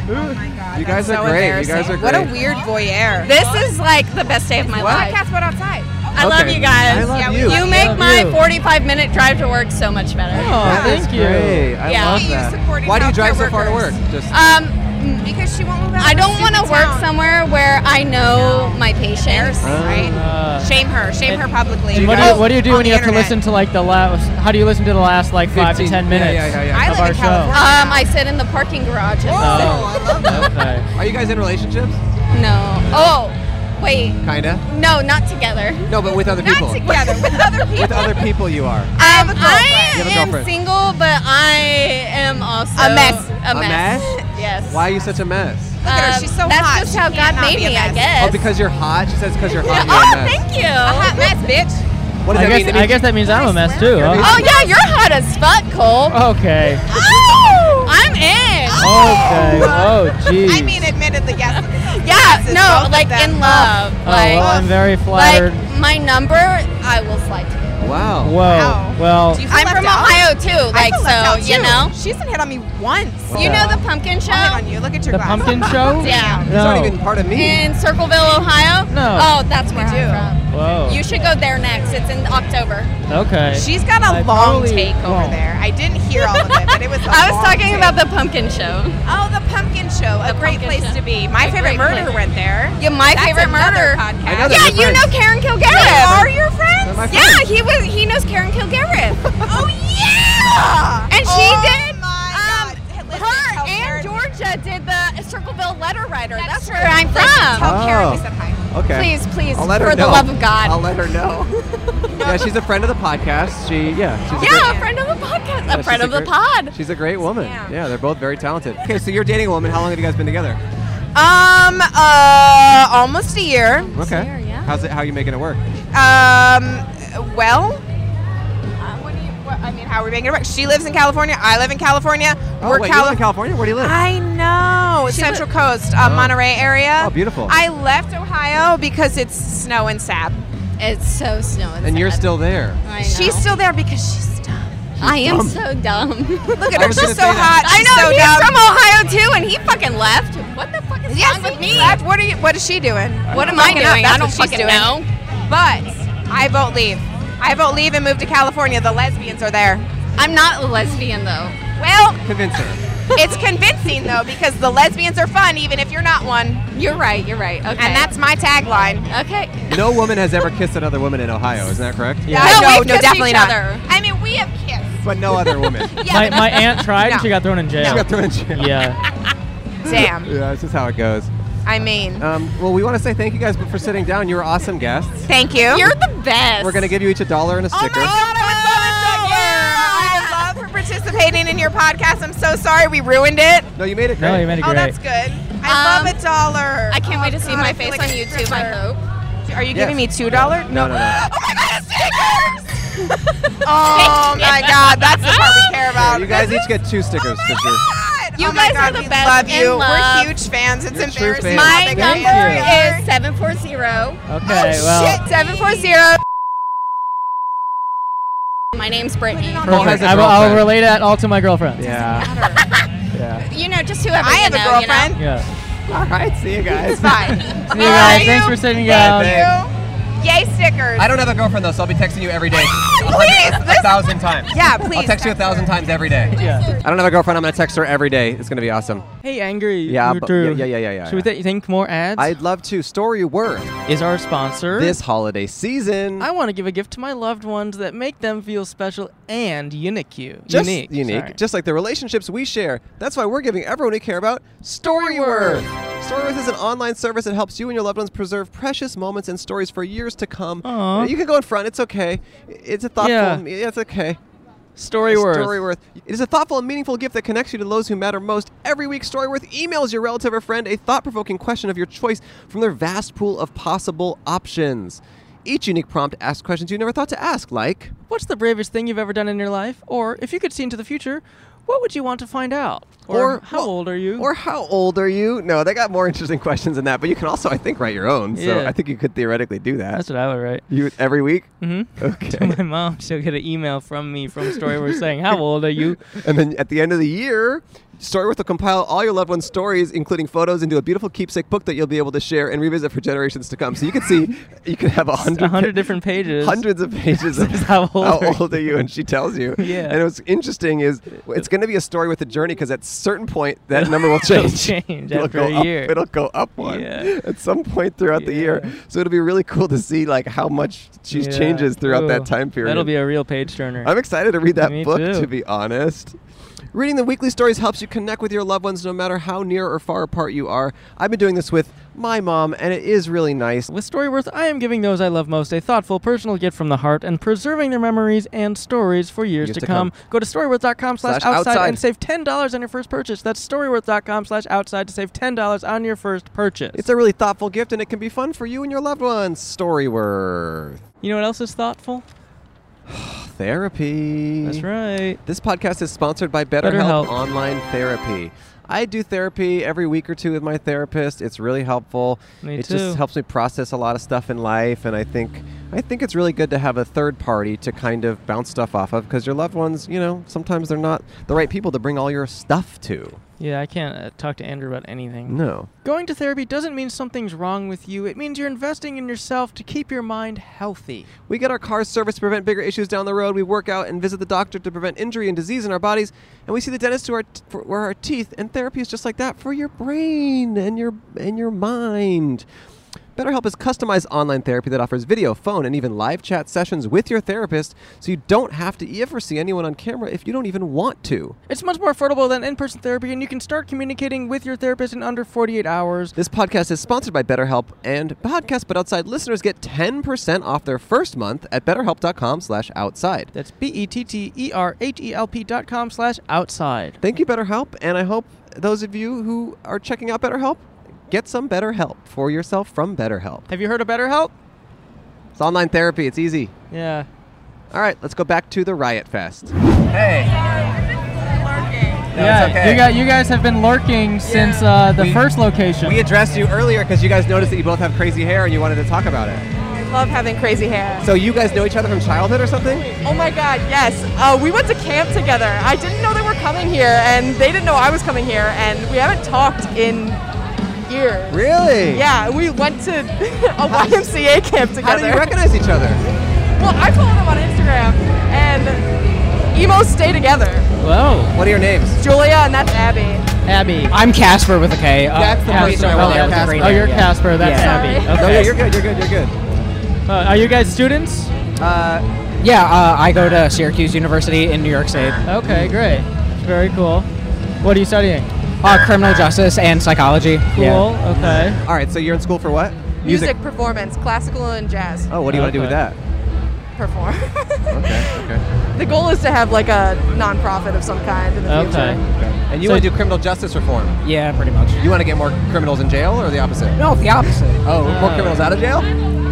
You guys so are great. You embarrassing. guys are great. What a weird voyeur. This is like the best day of my What? life. Podcast went outside. I love Okay. you Oh, guys. I love Yeah, we you. love you. make Love my you. 45 minute drive to work so much better. That's Great. I Yeah. love You that. supporting Why do you drive healthcare so far to work? workers. Just Um, because she won't move out. I don't want to work somewhere where I know my patients. right? Uh, Shame her. Shame her publicly. And what, Oh, do you, what do you do On when you the have to listen to like the last? How do you listen to the last like five to 15. ten Yeah, minutes yeah, yeah, yeah. I of live our in show? Um, I sit in the parking garage. And Oh. listen. Okay. Are you guys in relationships? No. Oh, wait. Kinda. No, not together. No, but with other Not people. *laughs* together, with other people. With other people, you are. Um, You have a I am girlfriend. single, but I am also A mess. A A mess? mess. *laughs* yes. Why are you such a mess? Look at her. She's so Um, That's just how God made me, I guess. Oh, because you're hot. She says because you're *laughs* hot. You're *laughs* oh, a mess. thank you. A hot mess, bitch. What does that I guess mean? I guess that means I'm a mess too. Oh yeah, you're hot as fuck, Cole. yeah. Okay. Oh, I'm in. *laughs* Okay. Oh *laughs* jeez. I mean, admittedly, *laughs* yes. Yeah, no, like in love. Oh, Like, well, I'm very like flattered. my number, I will slide to you. Wow. Whoa. Well, I'm from out? Ohio too, I like feel so, left out, you too. know. She hasn't hit on me once. You Yeah. know the pumpkin show? on you. Look at your The glass. *laughs* pumpkin show? Yeah. It's not No. even part of me. In Circleville, Ohio? No. Oh, that's where I'm whoa. from. You should go there next. It's in October. okay. She's got a I long probably take over won't. there. I didn't hear all of it, but it *laughs* was. a I was long talking take. about the pumpkin *laughs* show. Oh, the pumpkin show. a great pumpkin place show. to be. My A favorite great murder place. went there. Yeah, my That's favorite another murder. podcast. I know they're Yeah, my you friends. know Karen Kilgariff. They are your friends? Yeah, he was. He knows Karen *laughs* Kilgariff. oh yeah! And she Oh, did. um, My God. Listen, Her tell and Karen- Georgia did the Circleville letter writer. That's, true. where I'm Listen, from. tell Karen we Oh. said hi. Okay. Please, please, I'll let her for the know. love of God. I'll let her know. yeah, she's a friend of the podcast. She yeah. She's a Yeah, great, a friend of the podcast. yeah, a friend she's of the great- pod. She's a great woman. Yeah. they're both very talented. Okay, so you're dating a woman. How long have you guys been together? Um, uh, almost a year. Okay. How's it? How are you making it work? Um, well, uh, what do you, what, I mean, how are we making it work? She lives in California. I live in California. Oh, We're wait, Cali- you live in California. Where do you live? I know. Central Coast, uh, Oh. Monterey area. Oh, beautiful. I left Ohio because it's snow and sap. It's so snow and you're still there. I know. She's still there because she's dumb. I am dumb. so dumb. *laughs* Look at I her, was she's gonna so say that. hot, I she's know so he's dumb. from Ohio too, and he fucking left. What the fuck is Yes, wrong with me? Left. What are you? What is she doing? What am I Fucking up. doing? That's I don't what she's fucking doing. know. But I vote leave. I vote leave and move to California. The lesbians are there. I'm not a lesbian though. Well, Convince her. it's convincing though because the lesbians are fun even if you're not one. You're right. You're right. Okay. And that's my tagline. Okay. No woman has ever kissed another woman in Ohio. Isn't that correct? Uh, No, no, we've no, kissed definitely each not. other. I mean, we have kissed. But no *laughs* other woman. She my, my aunt tried and she got thrown in jail. got thrown in jail. *laughs* Yeah. Damn. Yeah, that's just how it goes. I mean, Um, well, we want to say thank you guys for sitting down. You were awesome guests. thank you. You're the best. We're gonna give you each a dollar and a sticker. I love for participating in your podcast. I'm so sorry we ruined it. No, you made it great. No, you made it Oh, great. that's good. I Um, love a dollar. I can't Oh, wait to see God, my I feel face like a on YouTube. I stripper. hope. Are you Yes. giving me two dollar? No, no, no. Oh my God, stickers! *laughs* oh my *laughs* God, that's the part we care Yeah, about. you guys This each get two stickers. 'cause you're- is- You oh my guys are God, the we best Love in you. love. We're huge fans. It's You're true embarrassing. fans. how My big we number are. is seven four zero. Okay. well. shit. Oh, Seven four zero. My name's Brittany. Perfect. has a I will, I'll girlfriend. relay that all to my girlfriend. Yeah. *laughs* yeah. You know, just whoever I you have a know, girlfriend. Yeah. All right. See you guys. It's fine. See you guys. Thanks for sitting down. Thank Thank you. Yay, stickers. I don't have a girlfriend though, so I'll be texting you every *laughs* day. Please, a thousand times. Yeah, please. I'll text you a thousand times every day. Yeah. I don't have a girlfriend. I'm gonna text her every day. It's gonna be awesome. Hey, angry. Yeah, you but- two. yeah, yeah, yeah, yeah, Should we th- think more ads? I'd love to. Story Worth is our sponsor. this holiday season. I want to give a gift to my loved ones that make them feel special and unique. You. Just unique. sorry. just like the relationships we share. That's why we're giving everyone we care about StoryWorth. StoryWorth is an online service that helps you and your loved ones preserve precious moments and stories for years to come. Uh, Aw. You can go in front. It's okay. It's a thoughtful. Yeah. It's okay. Storyworth. StoryWorth. It is a thoughtful and meaningful gift that connects you to those who matter most. Every week, StoryWorth emails your relative or friend a thought provoking question of your choice from their vast pool of possible options. Each unique prompt asks questions you never thought to ask, like What's the bravest thing you've ever done in your life? Or if you could see into the future, what would you want to find out? Or, how old are you? Or how old are you? No, they got more interesting questions than that, but you can also, I think, write your own. So Yeah. I think you could theoretically do that. That's what I would write. You would- every week? Mm-hmm. Okay. *laughs* my mom, she'll get an email from me from Storyworth saying, "How old are you?" And then at the end of the year, Storyworth will compile all your loved ones' stories, including photos, into a beautiful keepsake book that you'll be able to share and revisit for generations to come. So you can see, *laughs* you can have *laughs* a hundred, A hundred different pages. hundreds of *laughs* pages of how old how are you? old are you, and she tells you. *laughs* Yeah. And what's interesting is it's going to be a story with a journey because at certain point *laughs* that number will change. change *laughs* It'll after go a up- year. it'll go *laughs* up one Yeah. *laughs* at some point throughout the year. So it'll be really cool to see like how much she Yeah. changes throughout Ooh, that time period. That'll be a real page turner. I'm excited to read that Me book, too. to be honest. Reading the weekly stories helps you connect with your loved ones no matter how near or far apart you are. I've been doing this with my mom, and it is really nice. With Storyworth, I am giving those I love most a thoughtful, personal gift from the heart and preserving their memories and stories for years, to, come. Go to storyworth.com slash Slash outside outside. and save $10 on your first purchase. That's storyworth.com slash outside to save $10 on your first purchase. It's a really thoughtful gift, and it can be fun for you and your loved ones. Storyworth. You know what else is thoughtful? Therapy. That's right. This podcast is sponsored by BetterHelp BetterHelp. Online Therapy. I do therapy every week or two with my therapist. It's really helpful. Me it too. just helps me process a lot of stuff in life and I think I think it's really good to have a third party to kind of bounce stuff off of because your loved ones, you know, sometimes they're not the right people to bring all your stuff to. Yeah, I can't uh, talk to Andrew about anything. No. Going to therapy doesn't mean something's wrong with you. It means you're investing in yourself to keep your mind healthy. We get our cars serviced to prevent bigger issues down the road. We work out and visit the doctor to prevent injury and disease in our bodies. And we see the dentist to our t- for, for our teeth. And therapy is just like that for your brain and your and your mind. BetterHelp is customized online therapy that offers video, phone, and even live chat sessions with your therapist, so you don't have to ever see anyone on camera if you don't even want to. It's much more affordable than in person therapy, and you can start communicating with your therapist in under 48 hours. This podcast is sponsored by BetterHelp, and Podcast But Outside listeners get 10% off their first month at betterhelp.com slash outside. That's E B-E-T-T-E-R-H-E-L-P E dot com slash outside. Thank you, BetterHelp, and I hope those of you who are checking out BetterHelp get some better help for yourself from BetterHelp. Have you heard of BetterHelp? It's online therapy, it's easy. Yeah. All right, let's go back to the Riot Fest. Hey. yeah, you, got, you guys have been lurking since uh, the first location. We addressed you earlier because you guys noticed that you both have crazy hair and you wanted to talk about it. I love having crazy hair. So you guys know each other from childhood or something? Oh my God, yes. Uh, we went to camp together. I didn't know they were coming here, and they didn't know I was coming here, and we haven't talked in years. Really? Yeah, we went to *laughs* a YMCA camp together. How do you recognize each other? Well, I follow them on Instagram, and emos stay together. Whoa. What are your names? Julia, and that's Abby. Abby. I'm Casper with a K. Uh, That's the person I wanted. that was a great Oh, name, you're yeah. Casper. That's Yeah. Abby. Sorry. Okay. No, yeah, you're good. You're good. You're good. Uh, are you guys students? Uh, yeah, uh, I go to Syracuse University in New York State. Okay, great. Very cool. What are you studying? Uh, criminal justice and psychology. Cool. Okay. All right, so you're in school for what? Music performance, classical and jazz. Oh, what do you want to do with that? Perform. *laughs* Okay. Okay. the goal is to have like a nonprofit of some kind in the future. And you So- want to do criminal justice reform? Yeah, pretty much. You want to get more criminals in jail or the opposite? No, the opposite. Oh, more criminals out of jail?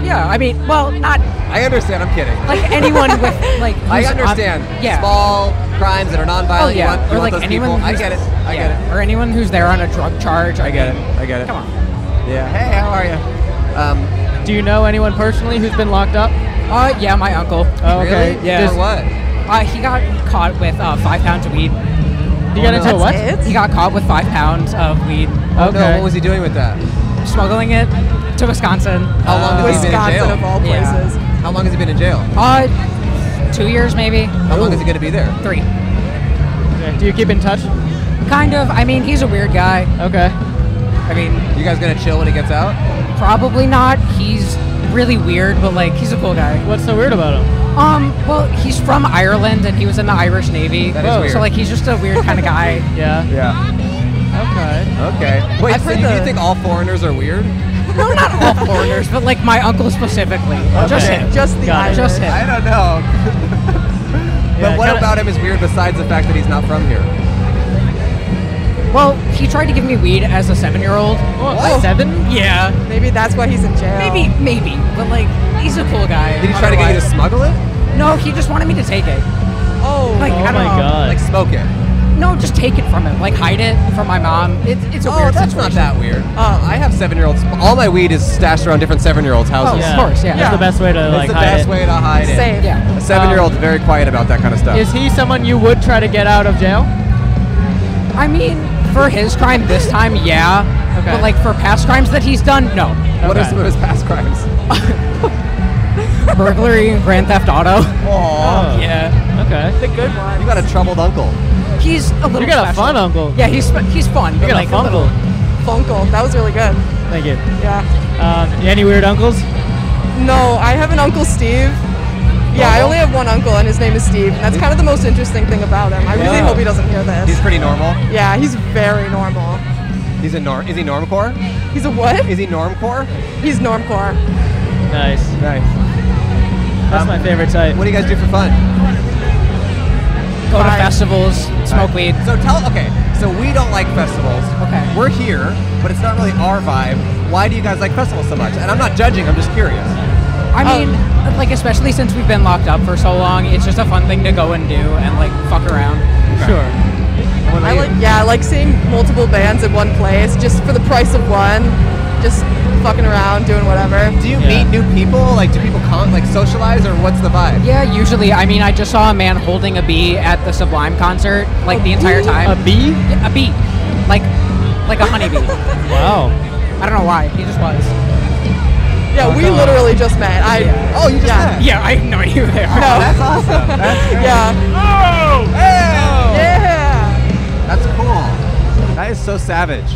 Yeah, I mean, well, not I understand. I'm kidding. like anyone with like. I who's ob- understand. yeah. Small crimes that are nonviolent. Oh, yeah. You want, you or want like those anyone. people. I who's- get it. I yeah. get it. Or anyone who's there on a drug charge. I get it. I get it. Come on. Yeah. Hey, how are you? Um, Do you know anyone personally who's been locked up? Uh, yeah, my uncle. Oh, okay. Really? Yeah. For what? Uh, he got caught with uh, five pounds of weed. You got into a what? That's it? He got caught with five pounds of weed. oh, no, what was he doing with that? Smuggling it to *laughs* Wisconsin. How long has he been in jail? How long has he been in jail? Uh, two years maybe. How long is he going to be there? Three. Do you keep in touch? Kind of. I mean, he's a weird guy. Okay. I mean, You guys going to chill when he gets out? probably not. He's really weird, but like, he's a cool guy. What's so weird about him? Um, well, he's from Ireland and he was in the Irish Navy. That is Whoa. weird. So like, he's just a weird kind of guy. Oh. *laughs* Yeah. Yeah. Okay. Okay. Wait, I've so heard you, you the- think all foreigners are weird? no, not all foreigners, but like my uncle specifically. Just Okay. him. Just the Got it. Just him. I don't know. but Yeah, what kinda- about him is weird besides the fact that he's not from here? Well, he tried to give me weed as a seven-year-old. What? Seven? Yeah. Maybe that's why he's in jail. Maybe, maybe, but like, He's a cool guy. Did he try to get you to otherwise. smuggle it? No, he just wanted me to take it. Oh, like, I don't know. Like smoke it. No, just take it from him. Like hide it from my mom. It's it's a oh, weird that's not situation. that weird. Uh, I have seven-year-olds. All my weed is stashed around different seven-year-olds' houses. Oh, of Yeah. course, yeah. That's the best way to, It's like, the hide best it. way to hide it. Safe. Yeah. A seven-year-old's very quiet about that kind of stuff. Is he someone you would try to get out of jail? I mean, for his crime this time, yeah. Okay. But like for past crimes that he's done, no. What are some of his past crimes? *laughs* Burglary and Grand Theft Auto. Oh, Aww. Yeah. Okay. The good one. You got a troubled uncle. He's a little. You got a special. fun uncle. Yeah, he's sp- he's fun. You but, got like, a uncle. little- Funkle. That was really good. Thank you. Yeah. Um, any weird uncles? No, I have an uncle Steve. Yeah, I only have one uncle, and his name is Steve. And that's kind of the most interesting thing about him. I really Yeah. hope he doesn't hear this. He's pretty normal. Yeah, he's very normal. He's a norm. Is he normcore? He's a what? Is he normcore? He's normcore. Nice. Nice. Um, That's my favorite type. What do you guys do for fun? Go to festivals, smoke weed. So tell. Okay. So we don't like festivals. Okay. We're here, but it's not really our vibe. Why do you guys like festivals so much? And I'm not judging. I'm just curious. I Oh. mean, like especially since we've been locked up for so long, it's just a fun thing to go and do and like fuck around. Sure. I like yeah, I like seeing multiple bands in one place just for the price of one, just fucking around doing whatever. Do you meet new people? Like, do people con- like socialize, or what's the vibe? Yeah, usually. I mean, I just saw a man holding a bee at the Sublime concert, like the entire bee? time. A bee? Yeah, a bee, like, like a honeybee. Wow. I don't know why. He just was. Yeah, we literally just met. I oh you just yeah. Yeah, I have no idea who they *laughs* are. *laughs* No. That's awesome. That's great. *laughs* Yeah. Oh! Yeah. That's cool. That is so savage.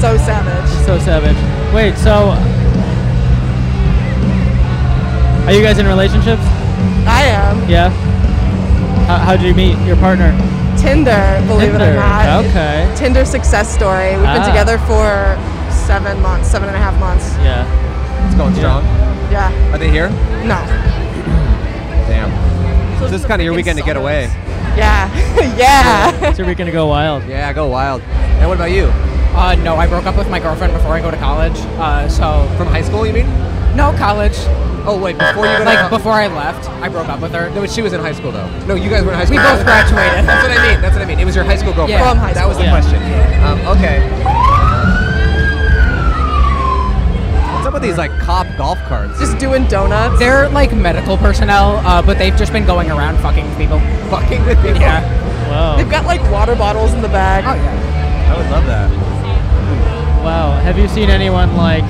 So savage. So savage. Wait. So, are you guys in relationships? I am Yeah. How, how'd you meet your partner? Tinder, believe it Tinder, or not. okay. Tinder success story. We've Ah. been together for seven months, seven and a half months. Yeah. It's going strong. Yeah. Are they here? No. *laughs* Damn. So this is kind of your weekend to get away. Yeah. *laughs* *laughs* yeah. It's your weekend to go wild. Yeah, go wild. And what about you? Uh, no, I broke up with my girlfriend before I go to college. Uh, so from high school, you mean? No, college. Oh wait, before you go to like co- before I left, I broke up with her. No, but she was in high school though. No, you guys were in high We school. both *laughs* graduated. That's what I mean. That's what I mean. It was your high school girlfriend. Yeah. From high That was the school. Yeah. question. Um, okay. What's up with these like cop golf carts? Just doing donuts. They're like medical personnel, uh, but they've just been going around fucking with people. Fucking with people. Yeah. Wow. They've got like water bottles in the bag. Oh yeah. I would love that. Wow. Have you seen anyone like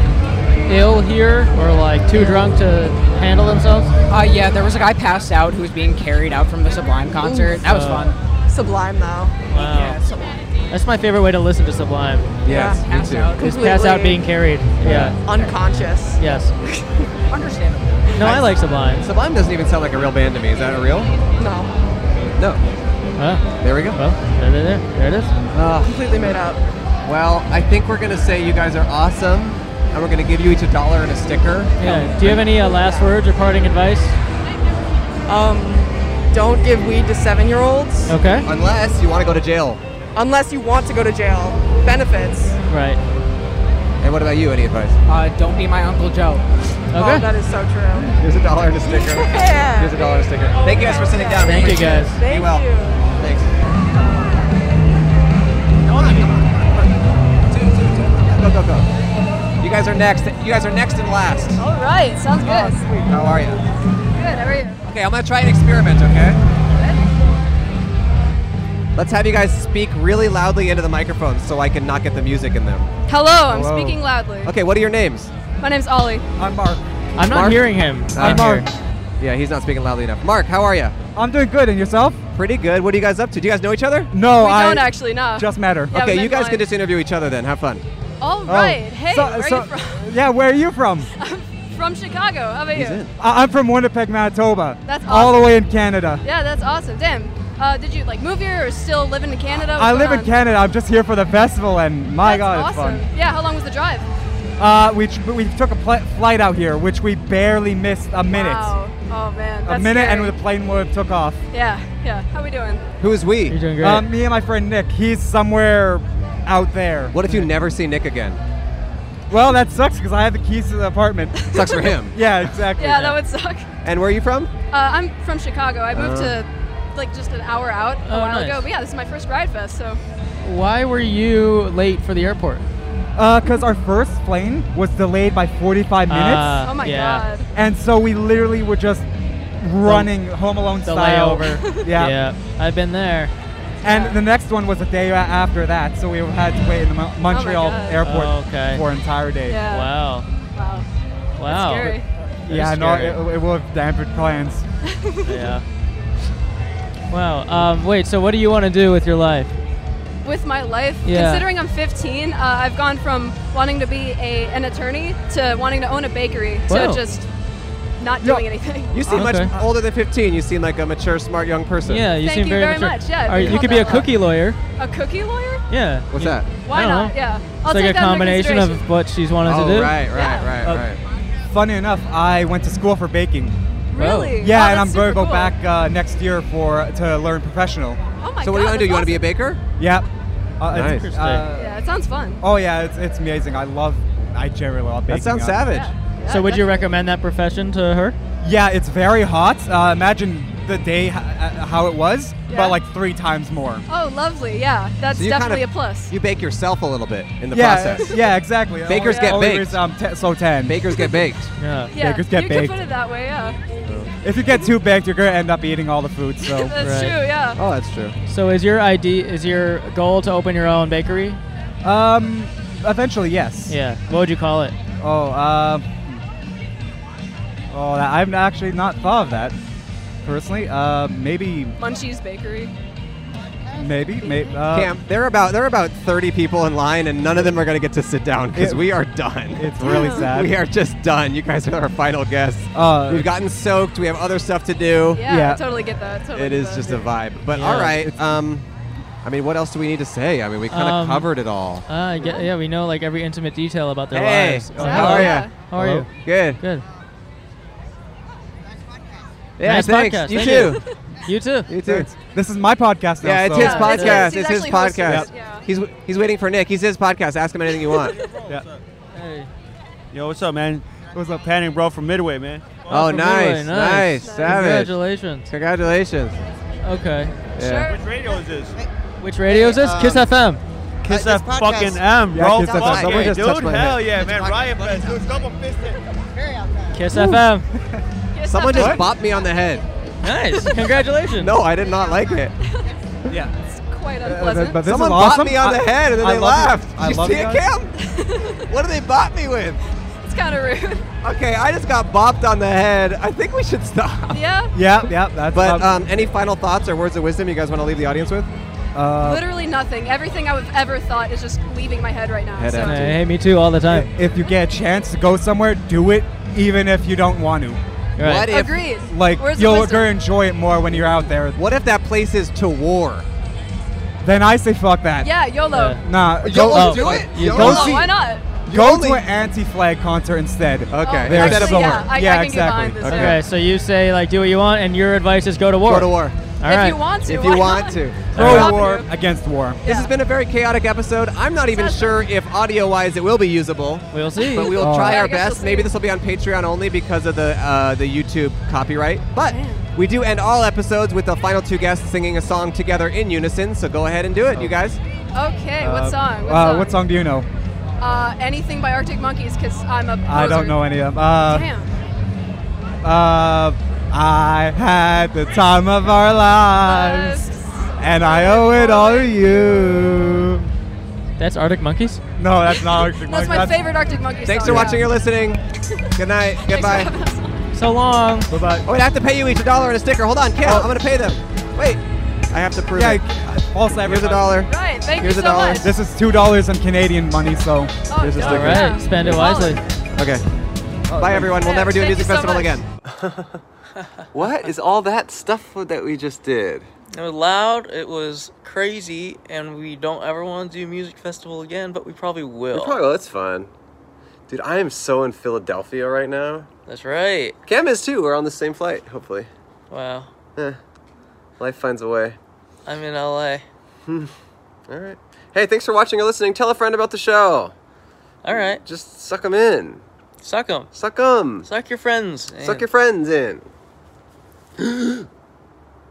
ill here or like too drunk to handle themselves? Uh, yeah, there was a guy passed out who was being carried out from the Sublime concert. Oof. that was Uh, fun. Sublime though. Wow. That's my favorite way to listen to Sublime. Yes, Yeah. me too. Is pass out Completely. being carried. Yeah. Unconscious. Yes. *laughs* Understandable. No, I like Sublime. Sublime doesn't even sound like a real band to me. Is that a real? No. No. Huh? There we go. Well, there, there, there, there it is. Ah, Completely made up. well, I think we're gonna say you guys are awesome, and we're gonna give you each a dollar and a sticker. Yeah. Do you have any uh, last words or parting advice? Um, don't give weed to seven-year-olds Okay. Unless you want to go to jail. unless you want to go to jail. Benefits. Right. And what about you? Any advice? Uh, don't be my Uncle Joe. Oh, Okay. that is so true. Here's a dollar and a sticker. *laughs* Yeah. Here's a dollar and a sticker. Thank you guys for sitting down. Thank you Appreciate it. guys. Be Thank well. you. Thanks. Come on, come on. Two, two, two. Go, go, go. You guys are next. You guys are next and last. All right, sounds Oh, good. How are you? Good, how are you? Okay, I'm gonna try an experiment. Okay. Let's have you guys speak really loudly into the microphones so I can not get the music in them. Hello, I'm Hello. speaking loudly. Okay, what are your names? My name's Ollie. I'm Mark. I'm not Mark? hearing him. I'm Mark. here. Yeah, he's not speaking loudly enough. Mark, how are you? I'm doing good, and yourself? Pretty good. What are you guys up to? Do you guys know each other? No, we Oh, I don't actually know. just matter. Yeah, we okay, met you guys online. can just interview each other then. Have fun. All Oh. right. Hey, So- where are so- you from? *laughs* Yeah, where are you from? From Chicago. How about you? I- I'm from Winnipeg, Manitoba. That's all the awesome. way in Canada. Yeah, that's awesome. Damn. Uh, did you like move here or still living in Canada? What's I going live on? in Canada. I'm just here for the festival, and my That's God, it's awesome. fun. Yeah. How long was the drive? Uh, we tr- we took a pl- flight out here, which we barely missed a minute. Wow. Oh man. A That's minute, scary. and the plane would have took off. Yeah. Yeah. How we doing? Who is we? You're doing great. Um, me and my friend Nick. He's somewhere out there. What if you never see Nick again? Well, that sucks because I have the keys to the apartment. *laughs* Sucks for him. *laughs* yeah, exactly. Yeah, that would suck. *laughs* And where are you from? Uh, I'm from Chicago. I moved Oh. to like just an hour out a Uh. Oh, while nice. ago. But yeah, this is my first ride fest, so Why were you late for the airport? Because Uh, our first plane was delayed by 45 minutes. Ah, Oh my yeah. God. And so we literally were just running Home Alone the style. *laughs* layover. yeah. Yeah, I've been there. And the next one was a day a- after that, so we had to wait in the Oh Mo- Montreal Oh God. airport Oh, Okay. for an entire day. Yeah. Wow. wow. Wow. scary. That Yeah, is no, scary. it, it will have dampened plans. *laughs* yeah. Wow. Um, wait. So, what do you want to do with your life? with my life. Yeah. Considering I'm 15, uh, I've gone from wanting to be a, an attorney to wanting to own a bakery Wow. to just not Yeah. doing anything. You seem much older than 15. You seem like a mature, smart young person. Ah, Yeah, you Thank seem you very, very mature. much, yeah, Are- we you call could be a that a- cookie lawyer. A cookie lawyer? Yeah. What's that? Why I don't not? know. Yeah. It's I'll like take a that under combination of *laughs* consideration. what she's wanted Oh, to do. right, right, Yeah. right, right. Funny enough, I went to school for baking. Yeah, Really? Wow. Oh, and that's I'm going to super go cool. back uh, next year for to learn professional. Oh my So what do you God, wanna do? You wanna be a that's baker? Yeah. Uh, it's- Nice. uh, Yeah, it sounds fun. oh yeah, it's, it's amazing. I love. I generally love baking. uh, so, would you recommend that profession to her? Yeah, it's very hot. Uh, imagine the day h- uh, how it was, Yeah. but like three times more. Oh, lovely. Yeah, that's So you kind of- definitely a plus. You bake yourself a little bit in the yeah, process. Yeah, exactly. Bakers Only- Oh, get only baked. reason um, I'm te- so tan. Bakers get baked. *laughs* Yeah. Yeah, Bakers get you baked. can put it that way. Yeah. If you get too baked, you're gonna end up eating all the food. So *laughs* That's Right. true, yeah. Oh, that's true. So, is your ID is your goal to open your own bakery? Um, eventually, yes. Yeah. What would you call it? Oh, um, oh, that, I've actually not thought of that personally. Uh, maybe, *laughs* Munchies Bakery. maybe, maybe. Uh, Cam, there are about there are about 30 people in line, and none of them are going to get to sit down because It- we are done. It's *laughs* really sad. We are just done. You guys are our final guests. Uh, We've gotten soaked. We have other stuff to do. Yeah, I totally get that. Totally It get is that. just a vibe. But Yeah. all right. Um, I mean, what else do we need to say? I mean, we kind of Um, covered it all. Uh, yeah, yeah, we know like every intimate detail about their Hey, lives. how are hello. ya? How are you? Good. Good. Yeah, Nice thanks. podcast. You Thank too. You too. You too. This is my podcast now. Yeah, it's so- his podcast. It's, his Yep. podcast. He's w- he's waiting for Nick. He's his podcast. Ask him anything you *laughs* want. yeah. Hey. Yo, what's up, man? What's up, Panic Bro from Midway, man? Oh, nice, nice, savage. Congratulations. Congratulations. Okay. Yeah. Which radio is this? Which radio is this? Kiss FM. Kiss um, Uh, F this fucking podcast. M, Yeah, bro. Kiss FM. Fuck Someone yeah, just touched dude. my Hell head. yeah, man. Ryan Bless. Dude, double fisted. Kiss Woo. *laughs* FM. Someone just bopped me on the head. *laughs* Nice. Congratulations. no, I did not like it. Yeah. It's quite but this Someone is bopped awesome. me on the I- head and then I they love you. laughed. I you love you see it, guys. Cam? what do they bop me with? It's kind of rude. Okay, I just got bopped on the head. I think we should *laughs* stop. Yeah. Yeah, yeah. That's but um, any final thoughts or words of wisdom you guys want to leave the audience with? Uh, Literally nothing. Everything I've ever thought is just leaving my head right now. so. Hey, me too, all the time. If you get a chance to go somewhere, do it, even if you don't want to. Right. What if- Agreed. Like Where's the you'll wisdom? gonna enjoy it more when you're out there. What if that place is to war? Then I say fuck that. Yeah, YOLO. Nah, Yo- go- oh, do it? You YOLO. go see. Why not? Go to an anti-flag concert instead. Okay. They're Instead of sore. war. Yeah, I- I can get behind this, Okay. yeah. so you say like do what you want, and your advice is go to war. Go to war. All right. If you want to. If you why want not? to. Pro war against war. This has been a very chaotic episode. I'm not even sure if audio wise it will be usable. We'll see. But we will Oh. try Yeah, I our guess best. we'll see. Maybe this will be on Patreon only because of the uh, the YouTube copyright. But we do end all episodes with the final two guests singing a song together in unison. So go ahead and do it, you guys. Okay, what Uh, song? What uh, song? What song do you know? Uh, anything by Arctic Monkeys, because I'm a. I don't poser. know any of them. Uh, Damn. Uh, I had the time of our lives, and I owe it all to you. That's Arctic Monkeys. No, Oh, that's not Arctic That's my favorite Arctic Monkeys Thanks for song. watching or listening. Good night. Goodbye. So long. Bye bye. Oh, wait, I have to pay you each a dollar and a sticker. Hold on, Kim. I'm gonna pay them. Wait. I have to prove Oh. Yeah, it. false Here's a dollar. Right, thank Here's you a so dollar. much. Oh, This is two dollars in Canadian money, so Here's a All sticker. right. Spend it wisely. Okay. Oh, *laughs* Bye, everyone. We'll Yeah, never do a thank music you so festival much. again. *laughs* what is all that stuff that we just did? It was loud, it was crazy, and we don't ever want to do music festival again, but we probably will. We probably will. It's fun. Dude, I am so in Philadelphia right now. That's right. Cam is too. We're on the same flight, hopefully. Wow. Eh, life finds a way. Hmm. I'm in LA. All right. Hey, thanks for watching or listening. Tell a friend about the show. All right. Just suck them in. Suck them. Suck them. Suck your friends. Suck in. your friends *gasps* in.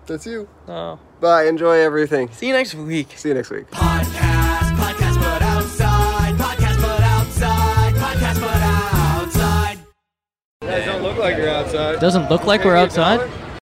That's you. Oh. Bye. Enjoy everything. See you next week. See you next week. Podcast but outside. Podcast but outside. Podcast but outside. Guys, don't look like you're outside. Doesn't look like we're outside.